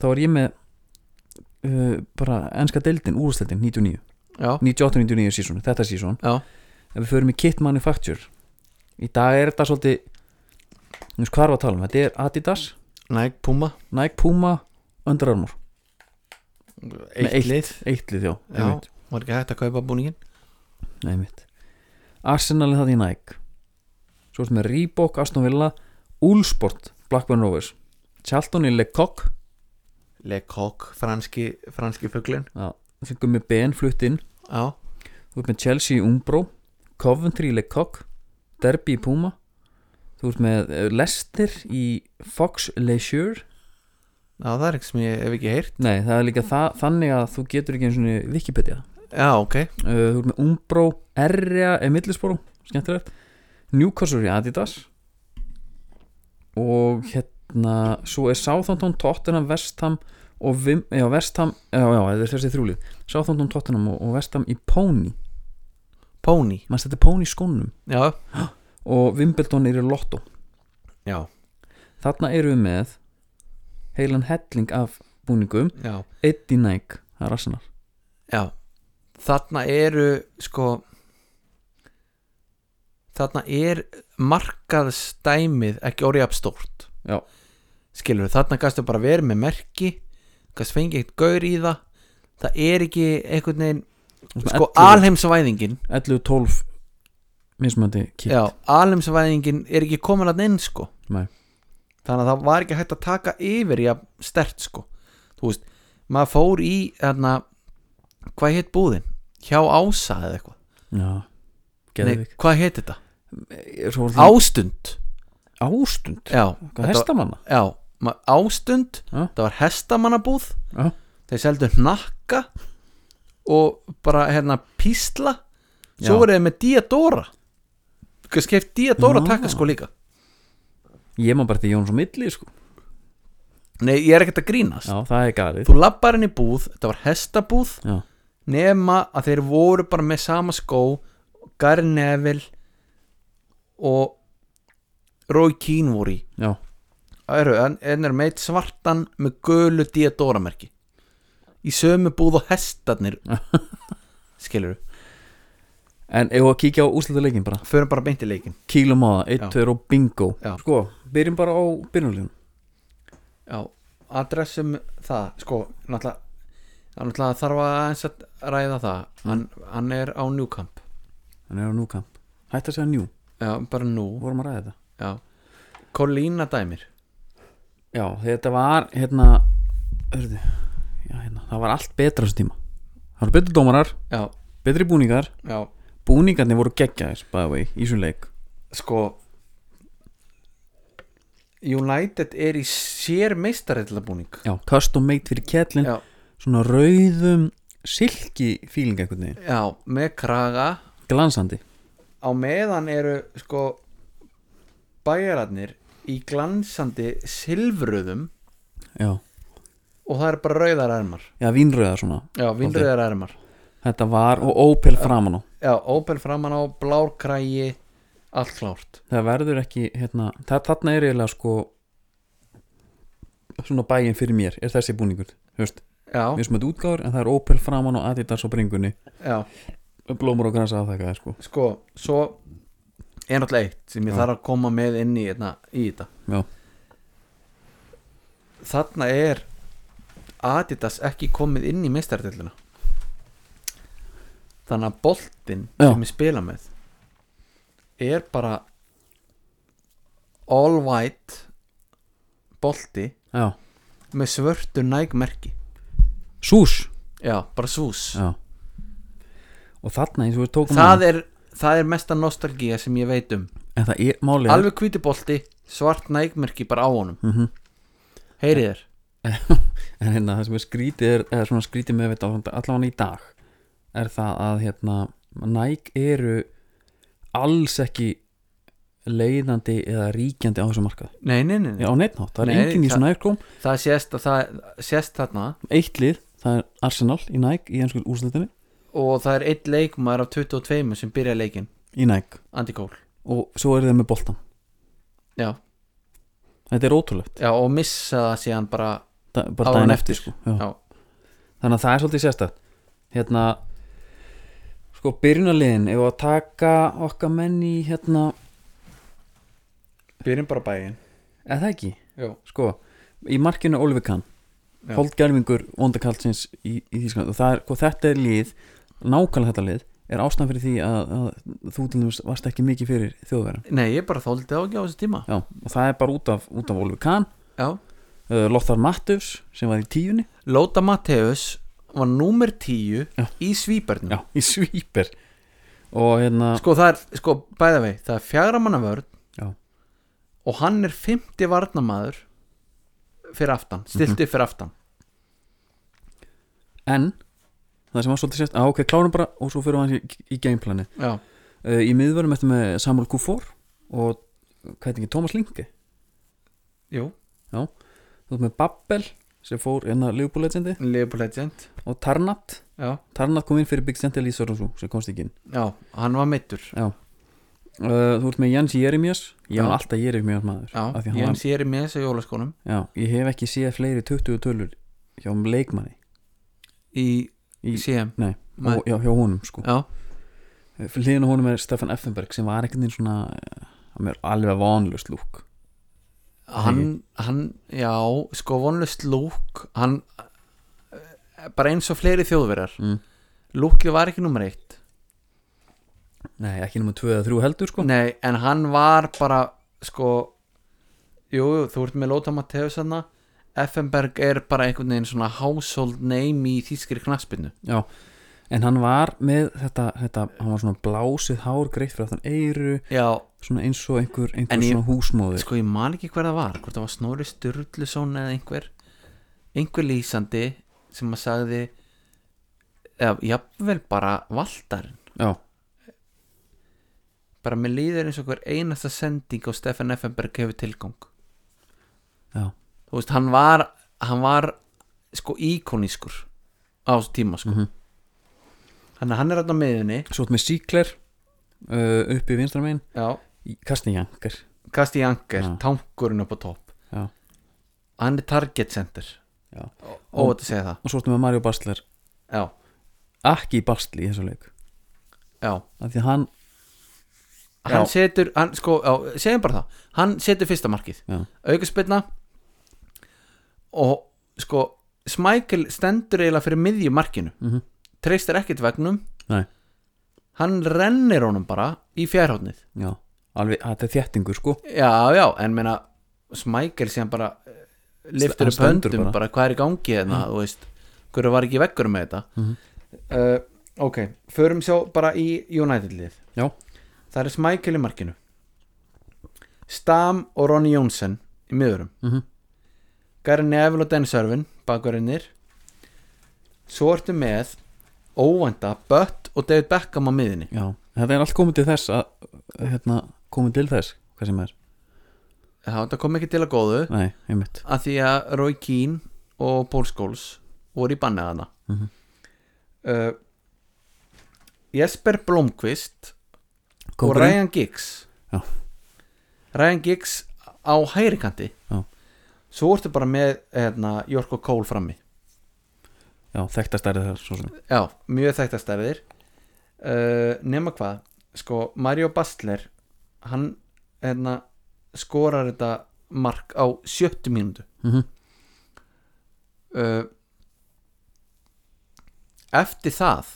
Speaker 1: þá er ég með uh, bara enska deildin, úrstældin, 99
Speaker 2: já,
Speaker 1: 98-99 sísón, þetta sísón
Speaker 2: já,
Speaker 1: Ef við förum í Kit Manufacture Í dag er þetta svolítið Þú veist hvað er að tala um, þetta er Adidas
Speaker 2: Nike, Puma
Speaker 1: Nike, Puma, Under Armour Nei,
Speaker 2: eitt lið,
Speaker 1: Eitt lið, já,
Speaker 2: Já. var ekki hægt að kaupa búningin
Speaker 1: Nei mitt Arsenal er það í Nike Svo ertu með Reebok, Aston Villa Úlsport, Blackburn Rovers Charlton í Lecoq
Speaker 2: Lecoq, franski, franski fuglin
Speaker 1: Fengum með Ben flutt inn
Speaker 2: já,
Speaker 1: Þú ert með Chelsea í Umbro Coventry í Lecoq Derby í Puma Þú ert með eh, Leicester í Fox Leisure
Speaker 2: já, það er ekki sem ég hef ekki heyrt
Speaker 1: Nei, það er líka það, þannig að þú getur ekki einu svona Wikipedia
Speaker 2: já, ok,
Speaker 1: uh, Þú ert með Umbro, Erja er millisboro, skemmtilegt Newcastle í Adidas og hérna svo er Southampton, Tottenham, Vestham og Vim, já, Vestham já, já, þetta er þessi þrjúlið Southampton, Tottenham og, og Vestham í Pony
Speaker 2: Pony
Speaker 1: maður stætti Pony í skónum
Speaker 2: já,
Speaker 1: og Wimbledon er í Lotto
Speaker 2: já,
Speaker 1: þarna eru við með heilan helling af búningum
Speaker 2: já
Speaker 1: Eddie Nike, það er rassanar
Speaker 2: Já, þarna eru sko þarna er markaðstæmið ekki orðið upp stórt
Speaker 1: Já.
Speaker 2: skilur þarna gæstu bara verið með merki gæstu fengið eitt gaur í það það er ekki einhvern veginn sko alheimsvæðingin
Speaker 1: 11-12 mismöndi kýtt
Speaker 2: já, alheimsvæðingin er ekki komin að inn sko
Speaker 1: Nei.
Speaker 2: þannig að það var ekki hægt að taka yfir já, stert sko þú veist, maður fór í þarna, hvað hétt búðin hjá Ása eða eitthvað
Speaker 1: já,
Speaker 2: Nei,
Speaker 1: geðvik
Speaker 2: hvað heit þetta?
Speaker 1: Svo voru það-
Speaker 2: Ástund
Speaker 1: ástund
Speaker 2: Já,
Speaker 1: hvað
Speaker 2: þetta var-
Speaker 1: hestamanna
Speaker 2: já ma- ástund
Speaker 1: Já.
Speaker 2: Það var hestamannabúð
Speaker 1: Já.
Speaker 2: Þeir seldu hnakka Og bara hérna písla Svo
Speaker 1: Já.
Speaker 2: voru þeir með Diadora Hvað skeft Diadora
Speaker 1: Já.
Speaker 2: takka sko líka
Speaker 1: ég maður bara til Jóns og Milli sko.
Speaker 2: Nei, ég er ekkert að grínast
Speaker 1: já, það er galið
Speaker 2: Þú labbar henni búð, þetta var hestabúð
Speaker 1: já,
Speaker 2: Nema að þeir voru bara með sama skó Gary Neville Og Roy Keane voru í
Speaker 1: já,
Speaker 2: Æru, en, en er meitt svartan með gölu diadóramerki í sömu búð og hestarnir skilur
Speaker 1: en ef að kíkja á úrslutaleikin bara
Speaker 2: förum bara beint í leikin
Speaker 1: kílum á það, 1,
Speaker 2: Já.
Speaker 1: 2 og bingo
Speaker 2: Já.
Speaker 1: sko, byrjum bara á byrjumlegin
Speaker 2: já, adressum það sko, náttúrulega, það náttúrulega þarf að eins að ræða það hann, hann er á Newcamp
Speaker 1: hann er á núkamp, hætti að segja njú
Speaker 2: já, bara nú
Speaker 1: við vorum að ræða þetta
Speaker 2: já. Kolína dæmir
Speaker 1: já, þetta var hérna, hörðu, já, hérna það var allt betra á þessum tíma það voru betri dómarar,
Speaker 2: já,
Speaker 1: betri búningar
Speaker 2: já,
Speaker 1: búningarnir voru geggjaðir by the way, í þessum leik
Speaker 2: sko United er í sér meistarillabúning
Speaker 1: já, custom made fyrir kettlin
Speaker 2: já,
Speaker 1: svona rauðum silki fíling einhvern veginn,
Speaker 2: já, með kraga
Speaker 1: glansandi
Speaker 2: á meðan eru sko bæjararnir í glansandi silfruðum
Speaker 1: já,
Speaker 2: og það eru bara rauðar ermar
Speaker 1: já vínröða svona
Speaker 2: já, vindröðar ermar
Speaker 1: þetta var og Opel framan á
Speaker 2: já, Opel framan á, blár krægi allt klárt
Speaker 1: það verður ekki, hérna það, þarna er eiginlega sko svona bæin fyrir mér er þessi búningur, höfst
Speaker 2: já,
Speaker 1: við sem þetta útgáður en það er Opel framan á Adidas og bringunni
Speaker 2: já,
Speaker 1: blómur og græsa að þekka það sko
Speaker 2: sko svo er náttúrulega eitt sem ég
Speaker 1: Já.
Speaker 2: þarf að koma með inn í, hérna, í þetta
Speaker 1: já,
Speaker 2: þarna er Adidas ekki komið inn í meistartilluna þannig að boltinn
Speaker 1: Já.
Speaker 2: sem ég spila með er bara all white bolti
Speaker 1: já,
Speaker 2: með svörtu nægmerki
Speaker 1: sús
Speaker 2: já, bara svús
Speaker 1: já. og þarna eins og við tókum
Speaker 2: það
Speaker 1: hana,
Speaker 2: er, það er mesta nostalgía sem ég veit um
Speaker 1: en það er málið er-
Speaker 2: alveg hvíti bolti, svart nægmerki bara á honum
Speaker 1: Mhm.
Speaker 2: heyrið þér
Speaker 1: en hérna það sem er skrítið er, eða svona skrítið með þetta allavega í dag er það að hérna Nike eru alls ekki leiðandi eða ríkjandi á þessum markað
Speaker 2: nei, nei, nei, nei.
Speaker 1: Já, á neittnátt, það er
Speaker 2: Nei,
Speaker 1: enginn í
Speaker 2: það-
Speaker 1: svona Nike-klóm
Speaker 2: það sést, að það, sést þarna
Speaker 1: eitt lið, það er Arsenal í Nike í einskjöld úrslutinni,
Speaker 2: og það er einn leikmaður af 22 sem byrja leikin,
Speaker 1: í Nike
Speaker 2: Andy Cole
Speaker 1: og svo eru þeir með boltan
Speaker 2: já,
Speaker 1: þetta er ótrúlegt,
Speaker 2: já og missa það síðan bara
Speaker 1: da, bara
Speaker 2: Áður en
Speaker 1: daginn
Speaker 2: eftir.
Speaker 1: eftir, sko. Já.
Speaker 2: Já.
Speaker 1: þannig að það er svolítið sérstætt hérna sko byrjunarliðin, ef að taka okkar menn í hérna,
Speaker 2: byrjum bara bæin
Speaker 1: eða það ekki
Speaker 2: já,
Speaker 1: sko, í markinu Oliver Kahn
Speaker 2: Já.
Speaker 1: holdgerfingur vondakaldsins í, í Þískland og það er, hvað þetta er lið nákvæmlega þetta lið er ástæðan fyrir því að, að þú til dæmis varst ekki mikið fyrir þjóðverðan
Speaker 2: nei, ég bara þóldi á ekki á þessu tíma
Speaker 1: já, og það er bara út af, út af Oliver Kahn
Speaker 2: já,
Speaker 1: uh, Lothar Matthäus sem var í tíunni
Speaker 2: Lóta Matteus var númer 10
Speaker 1: Já.
Speaker 2: í svíparnum
Speaker 1: já, í Svíper og hérna,
Speaker 2: sko það er, sko bæða vei það er fjagra manna vörn
Speaker 1: Já.
Speaker 2: og hann er 50 varnamaður fyrir aftan, stilt
Speaker 1: Mhm.
Speaker 2: upp fyrir aftan
Speaker 1: en það sem var svolítið sérst, að ok, klárum bara og svo fyrir hann í, í gameplani
Speaker 2: já,
Speaker 1: uh, í miðvörum eftir með Samuel Kufor og hvað heitir ekki, Thomas Linke
Speaker 2: jú,
Speaker 1: þú ert með Babbel sem fór hérna Liverpool legendi
Speaker 2: Liverpool legend
Speaker 1: og Tarnat
Speaker 2: já,
Speaker 1: Tarnat kom inn fyrir Big Gentil í Sörnsú sem komst ekki inn
Speaker 2: já, hann var meittur
Speaker 1: uh, þú ert með Jens Jeremias ég
Speaker 2: Já.
Speaker 1: var alltaf Jeremias maður
Speaker 2: já,
Speaker 1: af því hann
Speaker 2: ég hann sér með þessu jólaskónum
Speaker 1: var, já, ég hef ekki séð fleiri 20 tölur hjá um leikmanni
Speaker 2: í,
Speaker 1: Í-
Speaker 2: í CM
Speaker 1: nei,
Speaker 2: Nei.
Speaker 1: og, já, hjá honum sko
Speaker 2: já,
Speaker 1: hliðin á honum er Stefan Effenberg sem var ekkert einn svona eh, hann er alveg vanlust lúk
Speaker 2: hann, hann já, sko vonlust lúk hann eh, bara eins og fleiri þjóðverjar
Speaker 1: Mm.
Speaker 2: lúkið var ekki nummer eitt
Speaker 1: nei, ekki nema 2 eða 3 heldur sko
Speaker 2: Nei, en hann var bara sko Jú, jú, þú ert með Lóta Matteus hann Effenberg er bara einhvern veginn svona household name í þýskri knaspinu
Speaker 1: já En hann var með þetta, þetta, hann var svona blásið hár, greitt fyrir aftan eyru,
Speaker 2: Já,
Speaker 1: svona eins og einhver, einhver
Speaker 2: En ég-
Speaker 1: svona húsmóðir
Speaker 2: sko ég man ekki hver það var Hvort það var Snorri Sturluson eða einhver Einhver lýsandi sem að sagði eða jafnvel bara valdarinn
Speaker 1: já,
Speaker 2: bara með líður eins og hver einasta sending á Stefan Effenberg hefur tilgang
Speaker 1: já,
Speaker 2: þú veist, hann var hann var sko íkonískur á þessu tíma sko
Speaker 1: Mhm.
Speaker 2: þannig að hann er alltaf meðinni
Speaker 1: svo ert með síkler uh, upp í vinstra megin
Speaker 2: já,
Speaker 1: Kastin Jankar
Speaker 2: kasti í anker,
Speaker 1: Já.
Speaker 2: tankurinn upp á topp
Speaker 1: Já.
Speaker 2: hann er target center
Speaker 1: Já.
Speaker 2: og þetta segja það
Speaker 1: og svo ertu með Mario Bastler
Speaker 2: já,
Speaker 1: ekki í Bastli í þessu leik
Speaker 2: já,
Speaker 1: af því að hann,
Speaker 2: hann
Speaker 1: Já.
Speaker 2: setur hann sko, já, segjum bara það hann setur fyrsta markið,
Speaker 1: já,
Speaker 2: aukaspilna og sko Smækil stendur eiginlega fyrir miðju markinu
Speaker 1: mm
Speaker 2: treystir ekkert vegnum
Speaker 1: Nei.
Speaker 2: hann rennir honum bara í fjárhóttnið
Speaker 1: já alveg, þetta er þéttingur sko
Speaker 2: já, já, en meina Smækil sem bara eh, lyftir
Speaker 1: Hann
Speaker 2: upp
Speaker 1: stendur
Speaker 2: höndum
Speaker 1: bara.
Speaker 2: bara. hvað er í gangi hérna, þú veist hverju var ekki vekkur með þetta
Speaker 1: Mhm.
Speaker 2: uh, ok, förum sjá bara í United-lið
Speaker 1: Já.
Speaker 2: það er Smækil í markinu Stam og Ronny Jónsson í miðurum
Speaker 1: Mhm.
Speaker 2: Gary Neville og Dennis Irvin bakverinnir svo ertu með óvænta Butt og David Beckham á miðinni
Speaker 1: já, þetta er allt komið til þess að hérna, komið til þess, hvað sem er
Speaker 2: það kom ekki til að góðu
Speaker 1: nei, einmitt,
Speaker 2: að því að Roy Keane og Paul Scholes voru í bannið hana
Speaker 1: Mhm.
Speaker 2: uh, Jesper Blomqvist og
Speaker 1: Kópurinn,
Speaker 2: Ryan Giggs
Speaker 1: Já.
Speaker 2: Ryan Giggs á hægrikandi
Speaker 1: Já.
Speaker 2: svo ertu bara með hérna, Jorko Cole frammi
Speaker 1: já, þekktast er það svo sem
Speaker 2: já, mjög þættastæðir uh, nema hvað sko, Mario Bastler hann hérna, skorar þetta mark á sjöttu mínútu
Speaker 1: mm
Speaker 2: uh, eftir það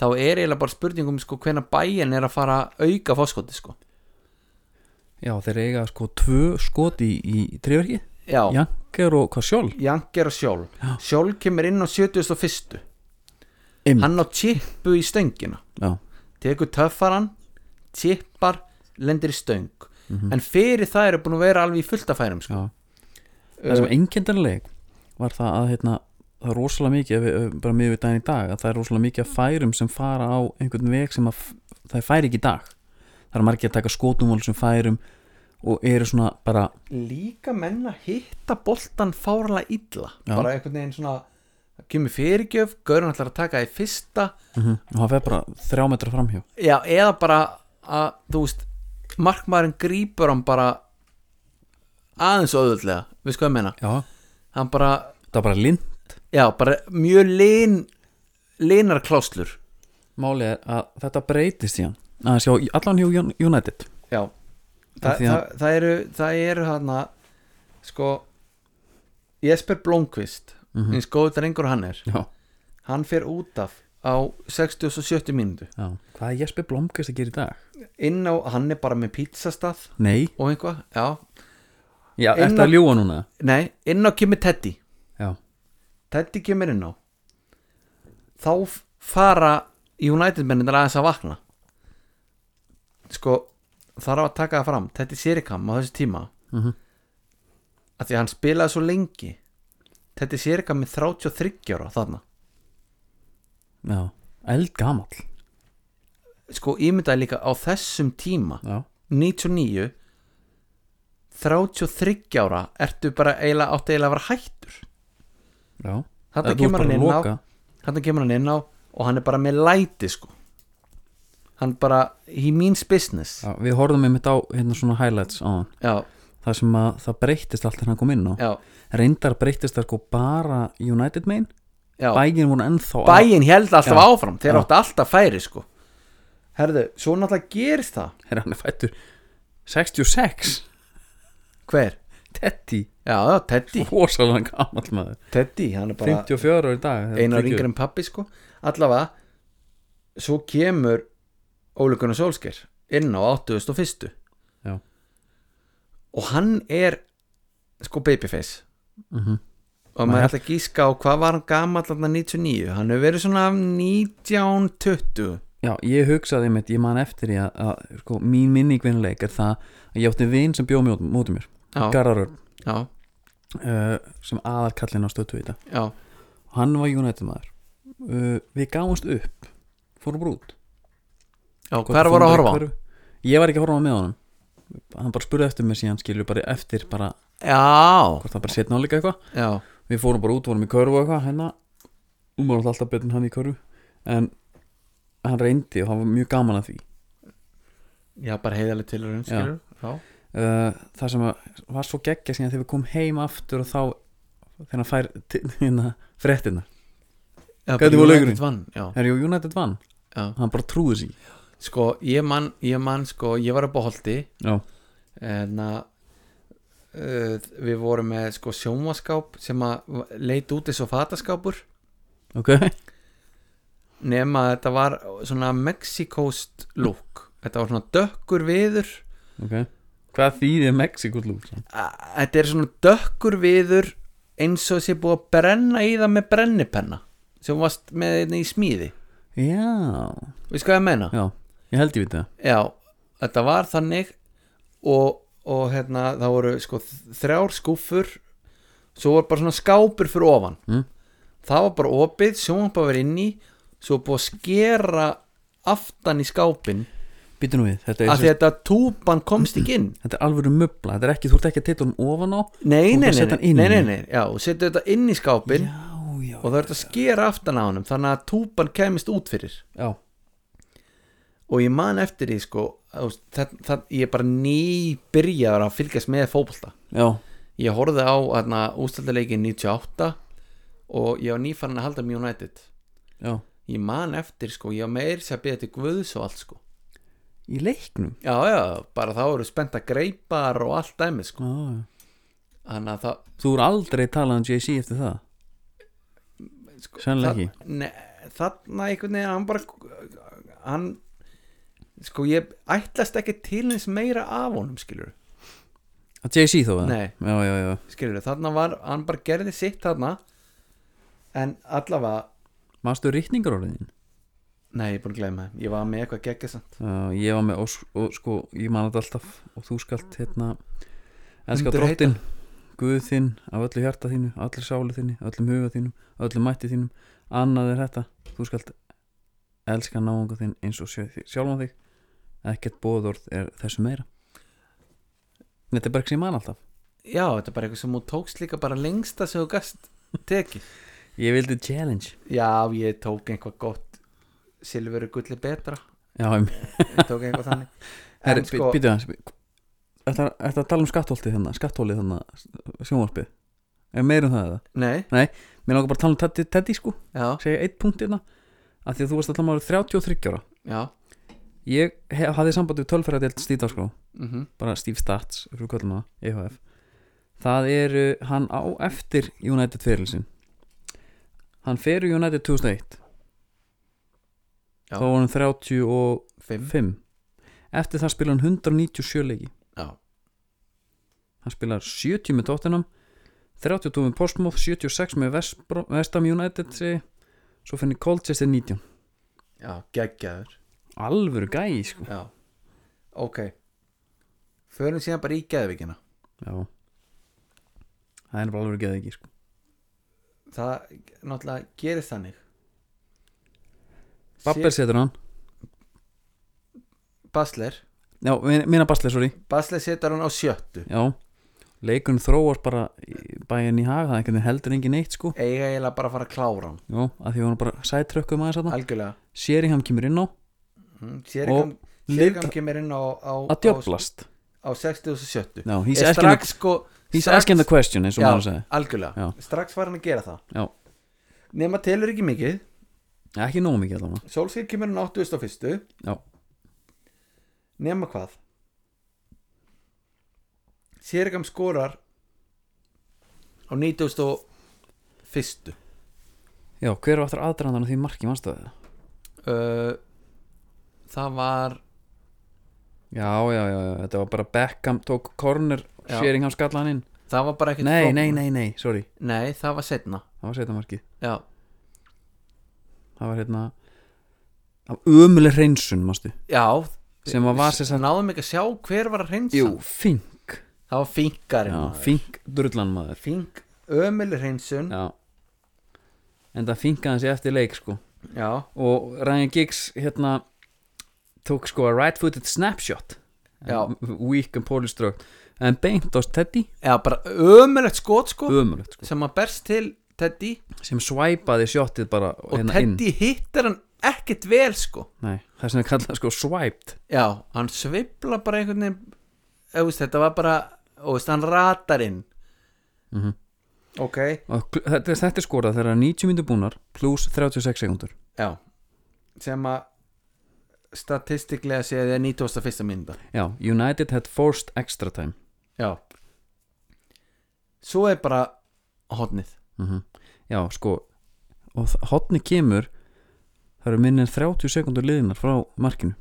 Speaker 2: þá um, er eiginlega bara spurningum sko hvena bæin er að fara að auka fóskoti sko
Speaker 1: Já, þeir eiga sko tvö skot í, í treyverki
Speaker 2: já,
Speaker 1: Janker og hvað sjálf
Speaker 2: Janker og Sjól
Speaker 1: Já.
Speaker 2: Sjól kemur inn á 71.
Speaker 1: Einmitt.
Speaker 2: Hann á tippu í stöngina
Speaker 1: Já,
Speaker 2: tekur töffaran tippar, lendir í stöng
Speaker 1: Mhm.
Speaker 2: en fyrir það eru búin að vera alveg í fullt af færum sko.
Speaker 1: já Það sem einkendanleg var það að hérna, það er rosalega mikið ef við- ef við- bara miður við daginn í dag að það er rosalega mikið af færum sem fara á einhvern veg sem að f- það færi ekki í dag Það er margir að taka skotumál sem færum og eru svona bara
Speaker 2: líka menn að hitta boltan fárala illa
Speaker 1: Já.
Speaker 2: bara einhvern veginn svona það kemur fyrirgjöf, gaurinn ætlar að taka í fyrsta
Speaker 1: og það fer bara þrjá metra framhjá
Speaker 2: já, eða bara að þú veist, markmaðurinn grípur hann bara aðeins öðvöldlega, við sko að menna
Speaker 1: Já,
Speaker 2: hann bara,
Speaker 1: það var bara lind
Speaker 2: já, bara mjög lin linar kláslur
Speaker 1: Málið er að þetta breytist síðan að sjá, allan hjá Jón- United
Speaker 2: Já Þa,
Speaker 1: Af því að-
Speaker 2: það, það eru það eru hana sko Jesper Blomqvist eins góður drengur hann er
Speaker 1: Mhm. Já,
Speaker 2: hann fer út af á 60 og 70 mínútu
Speaker 1: já Hvað er Jesper Blomqvist að gera í dag?
Speaker 2: inn á, hann er bara með pizzastað
Speaker 1: Nei,
Speaker 2: og einhvað, já,
Speaker 1: já,
Speaker 2: Innan-
Speaker 1: ertu að ljúga núna?
Speaker 2: nei inn á kemur Teddy,
Speaker 1: Já,
Speaker 2: Teddy kemur inn á þá f- fara United mennir aðeins að vakna sko þarf að taka það fram, Teddy Sirikam á þessu tíma
Speaker 1: Mhm.
Speaker 2: að því að hann spilaði svo lengi þetta er sérika með 33 ára þarna
Speaker 1: já Eldgamall
Speaker 2: sko ímyndaði líka á þessum tíma
Speaker 1: Já
Speaker 2: 99 33 ára ertu bara eiginlega átti eiginlega að vera hættur
Speaker 1: Já
Speaker 2: þarna
Speaker 1: Eða þú ert
Speaker 2: kemur
Speaker 1: bara
Speaker 2: hann
Speaker 1: að
Speaker 2: inn á
Speaker 1: loka.
Speaker 2: þarna kemur hann inn á og hann er bara með læti sko hann bara he means business
Speaker 1: Já, Við horfum einmitt á hérna svona highlights á hann
Speaker 2: já,
Speaker 1: Það sem að það breyttist allt þegar hann kom inn á
Speaker 2: já,
Speaker 1: Reyndar breyttist það sko bara United main
Speaker 2: já.
Speaker 1: Bægin voru ennþá
Speaker 2: bæin held alltaf
Speaker 1: Já.
Speaker 2: áfram þeir
Speaker 1: Já.
Speaker 2: áttu alltaf færi sko herðu, svo náttúrulega gerist það
Speaker 1: Herra, hann er fættur 66
Speaker 2: hver?
Speaker 1: Teddy
Speaker 2: já, já, Teddy,
Speaker 1: Rosalega gamall maður
Speaker 2: Teddy hann er bara
Speaker 1: 54 ára í dag þetta er
Speaker 2: einar
Speaker 1: þriggju.
Speaker 2: yngri en pappi sko allavega svo kemur Óli Gunnar Solskjær inn á 81.
Speaker 1: Já.
Speaker 2: og hann er sko babyface
Speaker 1: Mhm.
Speaker 2: og maður ætla að gíska á hvað var hann gamall þarna 99, hann hefur verið svona 1920
Speaker 1: Já, ég hugsaði einmitt, ég man eftir ég að, að sko, mín minningvinleik er það að ég átti vin sem bjóð mjóð móti mér
Speaker 2: já,
Speaker 1: Garðarörn,
Speaker 2: já,
Speaker 1: uh, sem aðarkallin á stötu í dag
Speaker 2: já,
Speaker 1: Hann var United maður uh, Við gáumst upp, fórum bara út
Speaker 2: já hver voru að horfa á?
Speaker 1: Hver- Ég var ekki að horfa á með honum Hann bara spurði eftir mér síðan skilur bara eftir bara,
Speaker 2: já,
Speaker 1: hvort það bara setna á líka eitthvað
Speaker 2: já,
Speaker 1: Við fórum bara út, vorum í körfu og eitthvað hérna Hún var náttúrulega alltaf betur en hann í körfu En hann reyndi og hann var mjög gaman að því
Speaker 2: já, bara heiðaleg tilurinn
Speaker 1: Já.
Speaker 2: skilur, já,
Speaker 1: uh, það sem að var svo geggja síðan þegar við komum heim aftur og þá þegar hann fær til- hérna, fréttina
Speaker 2: já
Speaker 1: Hvernig
Speaker 2: bara
Speaker 1: voru
Speaker 2: United
Speaker 1: leikurinn?
Speaker 2: vann, já,
Speaker 1: er jú United vann,
Speaker 2: já,
Speaker 1: hann bara trúði sig
Speaker 2: sko, ég man, ég man sko, ég var upp á holdi
Speaker 1: já,
Speaker 2: en að Hérna, uh, við vorum með sko sjómaskáp sem að leit út eins og fataskápur
Speaker 1: ok
Speaker 2: nema að þetta var svona Mexicost look þetta var svona dökkur viður
Speaker 1: ok hvað þýðir Mexiko lúk
Speaker 2: A- þetta er svona dökkur viður eins og sé búið að brenna í það með brennipenna sem varst með þetta í smíði
Speaker 1: já,
Speaker 2: við skoðum að menna
Speaker 1: já, ég held ég veit það
Speaker 2: Já, þetta var þannig og, og hérna það voru sko þrjár skúffur svo var bara svona skápur fyrir ofan
Speaker 1: Mm.
Speaker 2: það var bara opið, sjónvarpa var inn í svo var búið að skera aftan í skápin
Speaker 1: býtu nú við, þetta er,
Speaker 2: að
Speaker 1: sem,
Speaker 2: þetta túpan komst ekki inn
Speaker 1: þetta er alvöru möbla þetta er ekki, þú ert ekki að tita honum ofan á Þú
Speaker 2: Nei, nei,
Speaker 1: ert að
Speaker 2: nei,
Speaker 1: setja hann
Speaker 2: nei,
Speaker 1: inn í.
Speaker 2: nei, nei, nei Já, setja þetta inn í skápin
Speaker 1: já, já,
Speaker 2: og það er þetta að skera aftan á honum þannig að túpan kemist út fyrir
Speaker 1: já
Speaker 2: og ég man eftir því sko að, það, það, ég er bara nýbyrjaður að fylgjast með fótbolta
Speaker 1: já,
Speaker 2: ég horfði á hérna, ústöldarleikin 98 og ég var nýfarinn að halda með United
Speaker 1: já,
Speaker 2: ég man eftir sko, ég var meir sér að byrja til Guðs og allt sko
Speaker 1: í leiknum
Speaker 2: já, já, bara þá eru spennta greipar og allt dæmi sko
Speaker 1: já, já.
Speaker 2: þannig að það,
Speaker 1: þú eru aldrei talað um JC eftir það
Speaker 2: sko,
Speaker 1: Sennilega
Speaker 2: það ne, þannig einhvern veginn hann bara hann sko ég ætlast ekki til eins meira af honum skilur
Speaker 1: Að Jay-Z þó eða?
Speaker 2: Nei.
Speaker 1: Já, já, já
Speaker 2: skilur þarna var, hann bara gerði sitt þarna en allavega
Speaker 1: Mastu rýtningar orðin?
Speaker 2: nei, ég er búin að gleyma þeim, ég var með eitthvað geggja samt
Speaker 1: Uh, ég var með, og, og sko, ég man þetta alltaf Og þú skalt, hérna Elska
Speaker 2: Undirheita.
Speaker 1: drottin Guð þinn, af öllu hjarta þínu Allir sálu þinni, öllum huga þínum Öllum mætti þínum, annað er þetta Þú skalt elska náunga þinn Eins og sjö- sjálfan þig Ekkert bóðorð er þessu meira Þetta er bara ekki sem ég man alltaf
Speaker 2: já, þetta er bara eitthvað sem hún tókst líka bara lengsta sem þú gast tekið
Speaker 1: Ég vildi challenge
Speaker 2: já, ég tók einhvað gott silfuru gulli betra
Speaker 1: Já, ég
Speaker 2: ég tók einhvað þannig
Speaker 1: Herri, sko... býtu hans Þetta er að tala um skattholtið hérna Skatthólið hérna, sjónvarpið Er meir um það eða?
Speaker 2: nei,
Speaker 1: Mér langar bara að tala um Teddy, Teddy sko
Speaker 2: já,
Speaker 1: Segja eitt punkt hérna að Því að þú varst alltaf maður 33 ára
Speaker 2: já
Speaker 1: Ég hef, hafði samband við tölfæradelt stíðdagskrá
Speaker 2: mhm mm
Speaker 1: Bara Steve Stats, ef við kallum það EHF Það er uh, hann á eftir United ferilsin Hann fer í United 2001
Speaker 2: Já.
Speaker 1: Þá var hann 35
Speaker 2: fimm
Speaker 1: Eftir það spila hann 197 leiki
Speaker 2: já,
Speaker 1: hann spilar 70 með Tottenham 32 með Portsmouth 76 með Vestbro- West Ham United segi. ég. svo finnir Colchester 19
Speaker 2: já, geggjaður
Speaker 1: alvöru gæi sko
Speaker 2: já, ok förum síðan bara í geðvikina
Speaker 1: já það er bara alvöru geði ekki sko
Speaker 2: það náttúrulega gerist þannig
Speaker 1: Babber setur hann
Speaker 2: Basler
Speaker 1: já, min- minna Basler, sorry
Speaker 2: Basler setur hann á sjöttu
Speaker 1: já leikun þróar bara bæinn í hag það er einhvern veginn heldur engin neitt sko
Speaker 2: eiga eiginlega bara að fara að klára hann
Speaker 1: já, að því hún er bara sætrökkum aðeins að það
Speaker 2: algjörlega
Speaker 1: Sheringham kemur inn á
Speaker 2: Mhm.
Speaker 1: Og
Speaker 2: Sérikam
Speaker 1: Liv-
Speaker 2: Sérikam kemur inn á á, á,
Speaker 1: að djöflast
Speaker 2: á 60 og 70
Speaker 1: já, he's
Speaker 2: er
Speaker 1: asking,
Speaker 2: strax sko
Speaker 1: the, he's
Speaker 2: strax-
Speaker 1: asking the question eins og maður
Speaker 2: já,
Speaker 1: segi
Speaker 2: algjörlega
Speaker 1: Já.
Speaker 2: strax var hann að gera það
Speaker 1: já,
Speaker 2: nema telur ekki mikið
Speaker 1: ekki nóg mikið allavega
Speaker 2: Solskýr kemur inn á 81
Speaker 1: já,
Speaker 2: nema hvað Sérikam skorar á 91
Speaker 1: já hver var aftur aðdraðan því marki mannstöðið
Speaker 2: uh, það var
Speaker 1: Já, já, já, já, þetta var bara Beckham tók corner,
Speaker 2: Já.
Speaker 1: Sheringham skalla hann inn
Speaker 2: það var bara ekkert
Speaker 1: Nei,
Speaker 2: flóknara.
Speaker 1: nei, nei, nei, sorry
Speaker 2: Nei, það var setna
Speaker 1: Það var setja markið,
Speaker 2: Já,
Speaker 1: það var hérna af ömuleg hreinsun, mástu
Speaker 2: já
Speaker 1: Sem að var sem sagt-
Speaker 2: Náðum ekki að sjá hver var að reynsa
Speaker 1: Jú, fink
Speaker 2: Það var finkarinn
Speaker 1: Já,
Speaker 2: maður.
Speaker 1: fink drullan maður
Speaker 2: Fink, ömul reynsun Já,
Speaker 1: Já En það finkaði hann sig eftir leik, sko
Speaker 2: já,
Speaker 1: Og Ryan Giggs, hérna Tók sko a right-footed snapshot
Speaker 2: Já.
Speaker 1: Weak and poorly struck En beint á Teddy,
Speaker 2: bara ömulegt skot sko
Speaker 1: ömulegt, sko
Speaker 2: Sem að berst til Teddy
Speaker 1: Sem svæpaði sjottið bara
Speaker 2: Og
Speaker 1: hérna inn
Speaker 2: Teddy hittar hann ekkert vel sko
Speaker 1: Nei, það er sem að kalla sko swiped
Speaker 2: Já, hann svipla bara einhvern veginn Þú veist, þetta var bara Þú veist, hann ratar inn
Speaker 1: Mhm.
Speaker 2: Ok,
Speaker 1: Og gl- Þetta, þetta er skorað þegar 90 myndir búnar pluss 36 sekundur
Speaker 2: já Sem að statistiklega séð er 91. mynda
Speaker 1: Já, United had forced extra time
Speaker 2: Já Svo er bara hotnið
Speaker 1: mm Já, sko og hotni kemur það eru minni en 30 sekundur liðinar frá markinu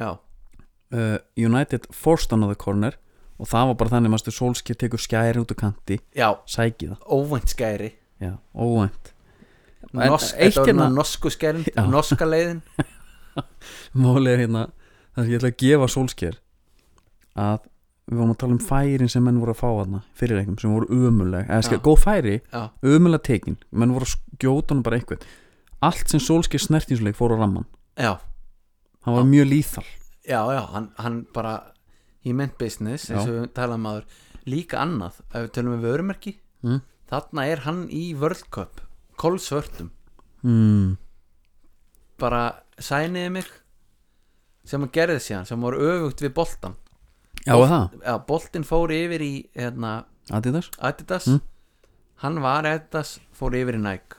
Speaker 2: Já,
Speaker 1: uh, United forced another corner og það var bara þannig að Solskjaer tekur skæri út á kanti
Speaker 2: já,
Speaker 1: sækið það,
Speaker 2: óvænt skæri
Speaker 1: já, óvænt En
Speaker 2: Norsk,
Speaker 1: eitt
Speaker 2: Þetta var
Speaker 1: hérna-
Speaker 2: hérna norsku skærin,
Speaker 1: Já.
Speaker 2: norska leiðin
Speaker 1: Málið er hérna það sem ég ætla að gefa Solskjaer að við vorum að tala um færin sem menn voru að fá þarna fyrirleikum sem voru umuleg eða skil,
Speaker 2: Já.
Speaker 1: góð færi
Speaker 2: Já,
Speaker 1: ömulega tekin menn voru að skjóta hann bara eitthvað allt sem Solskjaer snert í svo leik fór á ramman
Speaker 2: já,
Speaker 1: hann var mjög líþal
Speaker 2: já, já hann, hann bara He meant business,
Speaker 1: Já.
Speaker 2: eins og við talaðum aður Líka annað, ef við tölum við vörumerki
Speaker 1: Mm.
Speaker 2: Þarna er hann í World Cup Kolsvörtum
Speaker 1: mm.
Speaker 2: Bara sæniði mig Sem hann gerði síðan, sem voru öfugt við boltan
Speaker 1: já og það,
Speaker 2: Já, boltin fór yfir í hérna,
Speaker 1: Adidas
Speaker 2: Adidas
Speaker 1: Mm.
Speaker 2: Hann var Adidas, fór yfir í Nike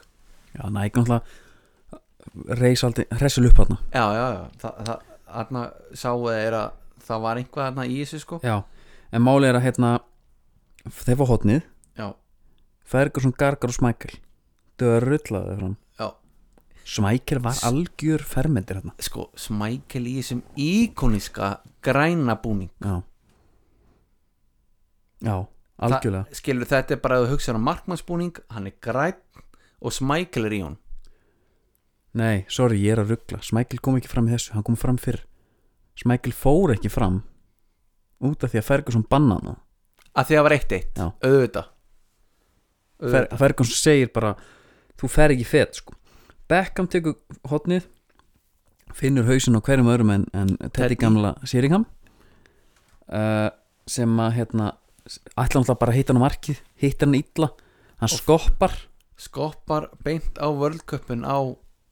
Speaker 1: já, næg náttúrulega reis aldrei, hressil upp hann
Speaker 2: Já, já, já Þa, það, Þarna sáu þeir að það var einhvað þarna í þessu sko
Speaker 1: já, en málið er að hérna þeir var hotnið,
Speaker 2: Já,
Speaker 1: Ferguson, Gargar og Smækkel dörullaði fram
Speaker 2: já
Speaker 1: Smækir var algjör fermendir hérna
Speaker 2: sko, smækel í þessum íkoniska græna búning
Speaker 1: Já Já, algjörlega
Speaker 2: Þa, skilur þetta er bara að þú hugsaður á markmannsbúning hann er græn og smækel er í hún
Speaker 1: Nei, sorry, ég er að ruggla Smækil kom ekki fram í þessu, hann kom fram fyrr Smækil fór ekki fram Út af því að Ferguson banna hana
Speaker 2: að því að það var eitt eitt,
Speaker 1: Já.
Speaker 2: auðvitað
Speaker 1: Fer, Ferguson segir bara Þú fer ekki fett, sko Beckham tekur hotnið Finnur hausin á hverjum öðrum en, en Teddy
Speaker 2: Teddy.
Speaker 1: gamla Sýringham uh, Sem að hérna Ætla hann bara að hitta hann á markið Hittar hann illa, hann skoppar
Speaker 2: skoppar beint á World Cupin á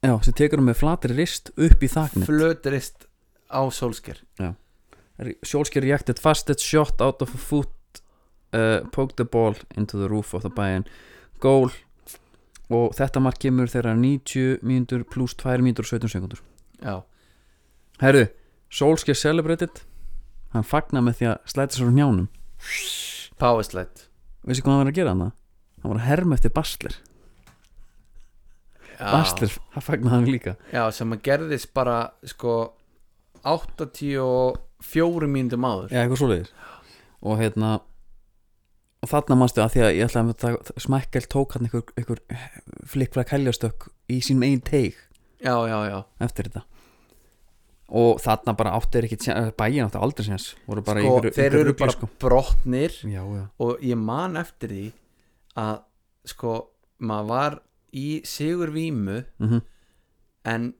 Speaker 1: Já, sem tekur hann með flatri rist upp í þakni
Speaker 2: flöturist á Solskjær
Speaker 1: Solskjaer reacted fastest shot out of a foot uh, poked the ball into the roof of the Bayern goal og þetta mark kemur þegar 90 mínútur pluss 2 mínútur og 17 sekundur
Speaker 2: já,
Speaker 1: Herru, Solskjaer celebrated hann fagnar með því að slæta sér á njánum
Speaker 2: powerslætt
Speaker 1: veistu hvað hann var að gera hann það? hann var að herma eftir Basler
Speaker 2: já,
Speaker 1: Basler, hann fagnar hann líka
Speaker 2: já, sem að gerðist bara sko 84 mínútum áður
Speaker 1: Já, eitthvað svoleiðis Og hérna Og þarna manstu að því að ég ætla að taka- Smækkel tók hann einhver, einhver flikkflæk hæljastökk í sínum einn teig
Speaker 2: já, já, já,
Speaker 1: eftir þetta og þarna bara áttu er ekkit bæin áttu aldrei séns voru bara
Speaker 2: sko,
Speaker 1: einhverju-
Speaker 2: þeir
Speaker 1: einhverju
Speaker 2: eru
Speaker 1: rugli,
Speaker 2: bara brotnir
Speaker 1: já, já,
Speaker 2: og ég man eftir því að sko maður var í sigur vímu
Speaker 1: mm
Speaker 2: en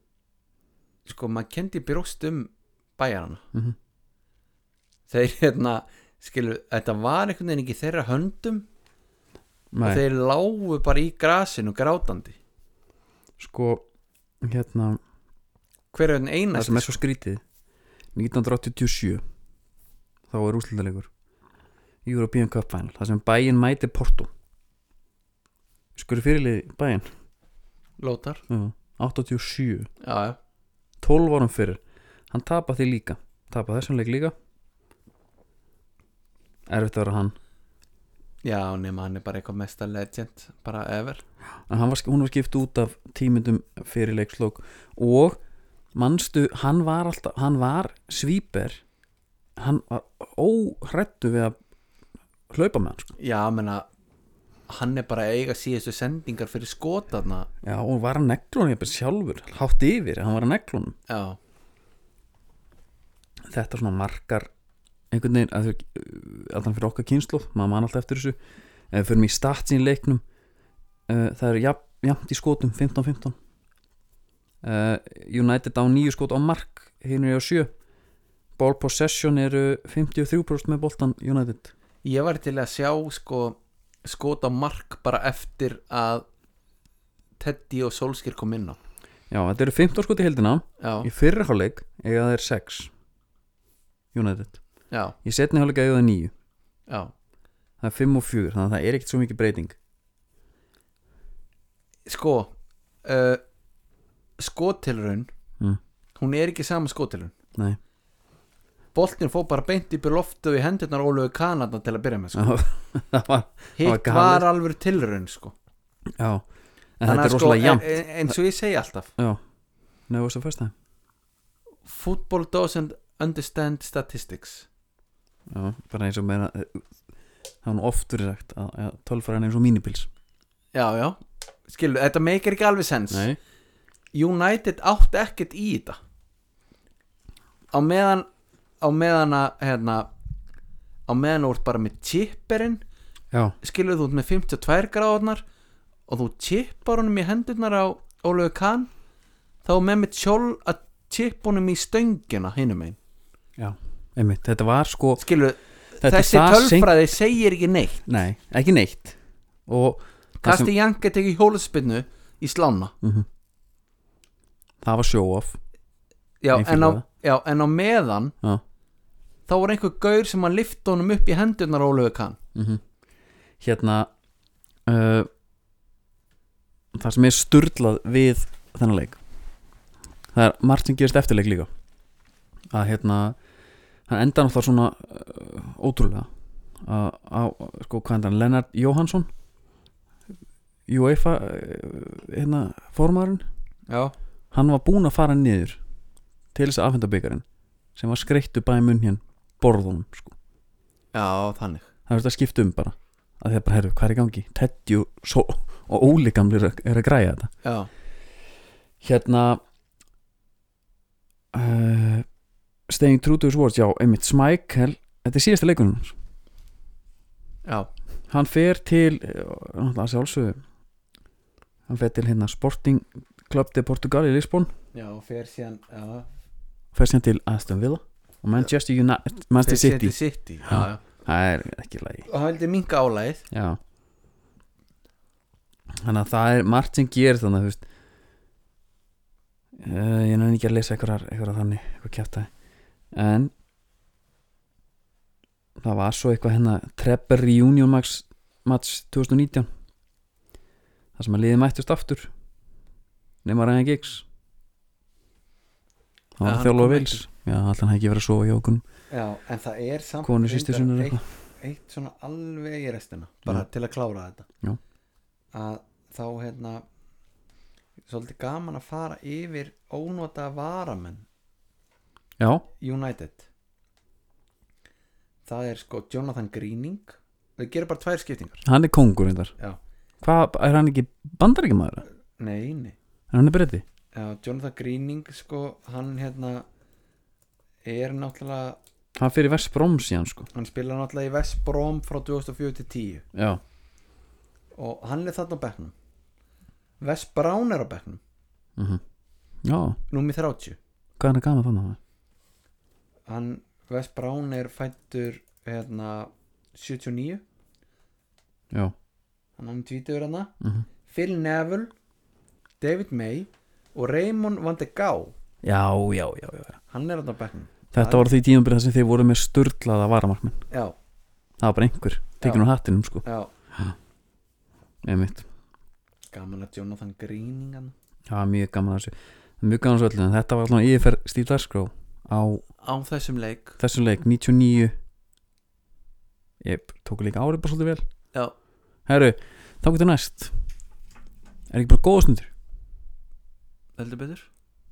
Speaker 2: sko maður kendi brjóst um bæjarana
Speaker 1: Mhm.
Speaker 2: þeir hérna skilur, þetta var einhvern veginn ekki í þeirra höndum
Speaker 1: Nei,
Speaker 2: og þeir lágu bara í grasinu grátandi
Speaker 1: sko hérna,
Speaker 2: hver er þannig
Speaker 1: það
Speaker 2: einast
Speaker 1: sem er svo skrítið 1987 þá er úslutalegur European Cup Final, það sem bæin mæti Porto skur fyrirlið bæin
Speaker 2: lótar
Speaker 1: já, 87
Speaker 2: já, já.
Speaker 1: 12 árum fyrir hann tapa því líka tapa þessum leik líka erfitt að vera hann
Speaker 2: já, nema hann er bara eitthvað mesta legend bara ever
Speaker 1: en hann var, hún var skipt út af tímyndum fyrir leikslók og manstu, hann var alltaf hann var svíper hann var óhrættu við að hlaupa með hann sko.
Speaker 2: já, menna hann er bara að eiga síðustu sendingar fyrir skotarna
Speaker 1: já, og var að neglunum ég sjálfur hátt yfir, hann var að neglunum
Speaker 2: já,
Speaker 1: þetta svona markar einhvern veginn, að þau- eh, allan fyrir okkar kynslu maður mann alltaf eftir þessu ef við förum í statsin leiknum uh, það er jafn, jafnt í skotum 15-15 uh, United á nýju skot á mark hinn er á sjö ball possession eru 53% með boltan United
Speaker 2: ég var til að sjá sko skota mark bara eftir að Teddy og Solskir kom inn á
Speaker 1: já, þetta eru 15 skot í heldina
Speaker 2: já,
Speaker 1: í fyrri hálfleik eiga það er 6 United
Speaker 2: já,
Speaker 1: í setni hálfleik eiga það er 9
Speaker 2: já
Speaker 1: það er 5 og 4 þannig að það er ekkert svo mikið breyting
Speaker 2: sko uh, skotilrun
Speaker 1: Mm.
Speaker 2: hún er ekki sama skotilrun
Speaker 1: nei
Speaker 2: boltin fór bara beint upp í loftu í hendurnar Óluðu Kanada til að byrja með sko.
Speaker 1: það var var
Speaker 2: hitt
Speaker 1: galið.
Speaker 2: var alveg tilraun sko.
Speaker 1: Já, en
Speaker 2: Þannig
Speaker 1: þetta
Speaker 2: að sko, e,
Speaker 1: er rosalega jafn
Speaker 2: en- en- eins og ég segi alltaf
Speaker 1: Já, neðu þess að fyrsta
Speaker 2: football doesn't understand statistics
Speaker 1: Já, bara eins og meina eh, Það er nú oftur sagt að, að tölfræðan er eins og mínipils
Speaker 2: já, já, skilu, þetta meikir ekki alveg sens
Speaker 1: Nei,
Speaker 2: United átti ekkert í þetta á meðan á meðan að hérna, á meðan þú ert bara með chipperinn
Speaker 1: já,
Speaker 2: skilur þú ert með 52 gráðnar og þú chippar honum í hendurnar á Ólegu Kahn þá er með með sjól að chippa honum í stöngina hinum einn
Speaker 1: já Einmitt, þetta var sko
Speaker 2: skilur
Speaker 1: þetta er
Speaker 2: þessi
Speaker 1: það seint-
Speaker 2: tölfræði segir ekki neitt
Speaker 1: Nei, ekki neitt Og það, sem, Mhm.
Speaker 2: Kasti Janka tekið hjólaspinnu í slána
Speaker 1: það var show off
Speaker 2: já,
Speaker 1: Ég fíla
Speaker 2: en á,
Speaker 1: það.
Speaker 2: já, en á meðan
Speaker 1: Já,
Speaker 2: þá var einhver gaur sem að lifta honum upp í hendurnar á Ólegu Kahn
Speaker 1: Mhm. hérna uh, Það sem er sturlað við þennan leik Það er margt sem gerist eftirleik líka Að hérna Hann enda náttúrulega svona uh, ótrúlega að, að, sko, hvað endan, Lennart Jóhansson UEFA uh, hérna, formaðurinn
Speaker 2: já,
Speaker 1: hann var búinn að fara niður til þess að afhenda byggarinn sem var skreittu bæði munn hér borðunum sko.
Speaker 2: já, þannig
Speaker 1: það verður að skipta um bara að því að bara herru, hvað er í gangi? Teddy og, so og Óli gamlir er að- er að græja þetta
Speaker 2: já,
Speaker 1: hérna uh, Staying True to His Words já, einmitt Smækel þetta er síðasta leikunum hans
Speaker 2: já,
Speaker 1: hann fer til eh, náttúrulega sjálfsögðu hann fer til hérna Sporting Club de Portugal í Lisbon
Speaker 2: já, fer síðan já,
Speaker 1: fer sér til Aston Villa og Manchester United, Manchester
Speaker 2: fer síðan
Speaker 1: City
Speaker 2: til City. Já,
Speaker 1: Já.
Speaker 2: já.
Speaker 1: það er ekki lægi
Speaker 2: og hann vildi minka álæð
Speaker 1: já þannig að það er margt sem gerir þannig að þú veist uh, ég nefnir ekki að lesa eitthvað, eitthvað þannig, eitthvað kjátaði en það var svo eitthvað hérna Trepper Reunion Max match 2019 þar sem að liðið mættust aftur nema Ryan Giggs það
Speaker 2: Já,
Speaker 1: var
Speaker 2: hann
Speaker 1: þjálfa
Speaker 2: kom
Speaker 1: vils já, allan hann ekki verið að sofa hjá okkur
Speaker 2: já, en það er samt
Speaker 1: Konu systur
Speaker 2: reyndar
Speaker 1: sinnar
Speaker 2: eitt, eitt svona alveg í restina bara til að klára þetta
Speaker 1: Já.
Speaker 2: að þá hérna svolítið gaman að fara yfir ónota varamenn
Speaker 1: já,
Speaker 2: United það er sko Jonathan Greening þau gerir bara tvær skiptingar
Speaker 1: hann er kongur reyndar
Speaker 2: já,
Speaker 1: hvað, er hann ekki bandaríkjamaður?
Speaker 2: nei, nei
Speaker 1: En hann er breyti
Speaker 2: já, Jonathan Greening sko, hann hérna er náttúrulega
Speaker 1: Hann fyrir vers broms í hann sko
Speaker 2: hann spilar náttúrulega í West Brom frá 2004 til 10
Speaker 1: Já
Speaker 2: og hann er þarna á bekknum West Brown er á bekknum
Speaker 1: Mhm. Já,
Speaker 2: númið 30
Speaker 1: hvað er hann gaman þannig að
Speaker 2: hann, West Brown er fættur hérna 79
Speaker 1: Já
Speaker 2: hann hann tvítiður hana
Speaker 1: Mhm.
Speaker 2: Phil Neville, David May og Raymond Van de Gau
Speaker 1: Já, já, já, já
Speaker 2: hann er þarna á bekknum
Speaker 1: Þetta var því tímambrið sem þeir voru með sturlaða varamarkmenn
Speaker 2: já,
Speaker 1: Það var bara einhver
Speaker 2: Já.
Speaker 1: Tekinn úr hattinum sko
Speaker 2: já,
Speaker 1: Nei mitt
Speaker 2: gaman að Jonathan Greening hann
Speaker 1: Það var mjög gaman að þessu Mjög gaman að þessu öllu En þetta var alltaf yfirferð Steve Darskró Á
Speaker 2: á þessum leik
Speaker 1: þessum leik 99 Ég tók líka árið bara svolítið vel
Speaker 2: já,
Speaker 1: Herru, þá getur næst Er ekki bara góða stundur?
Speaker 2: heldur betur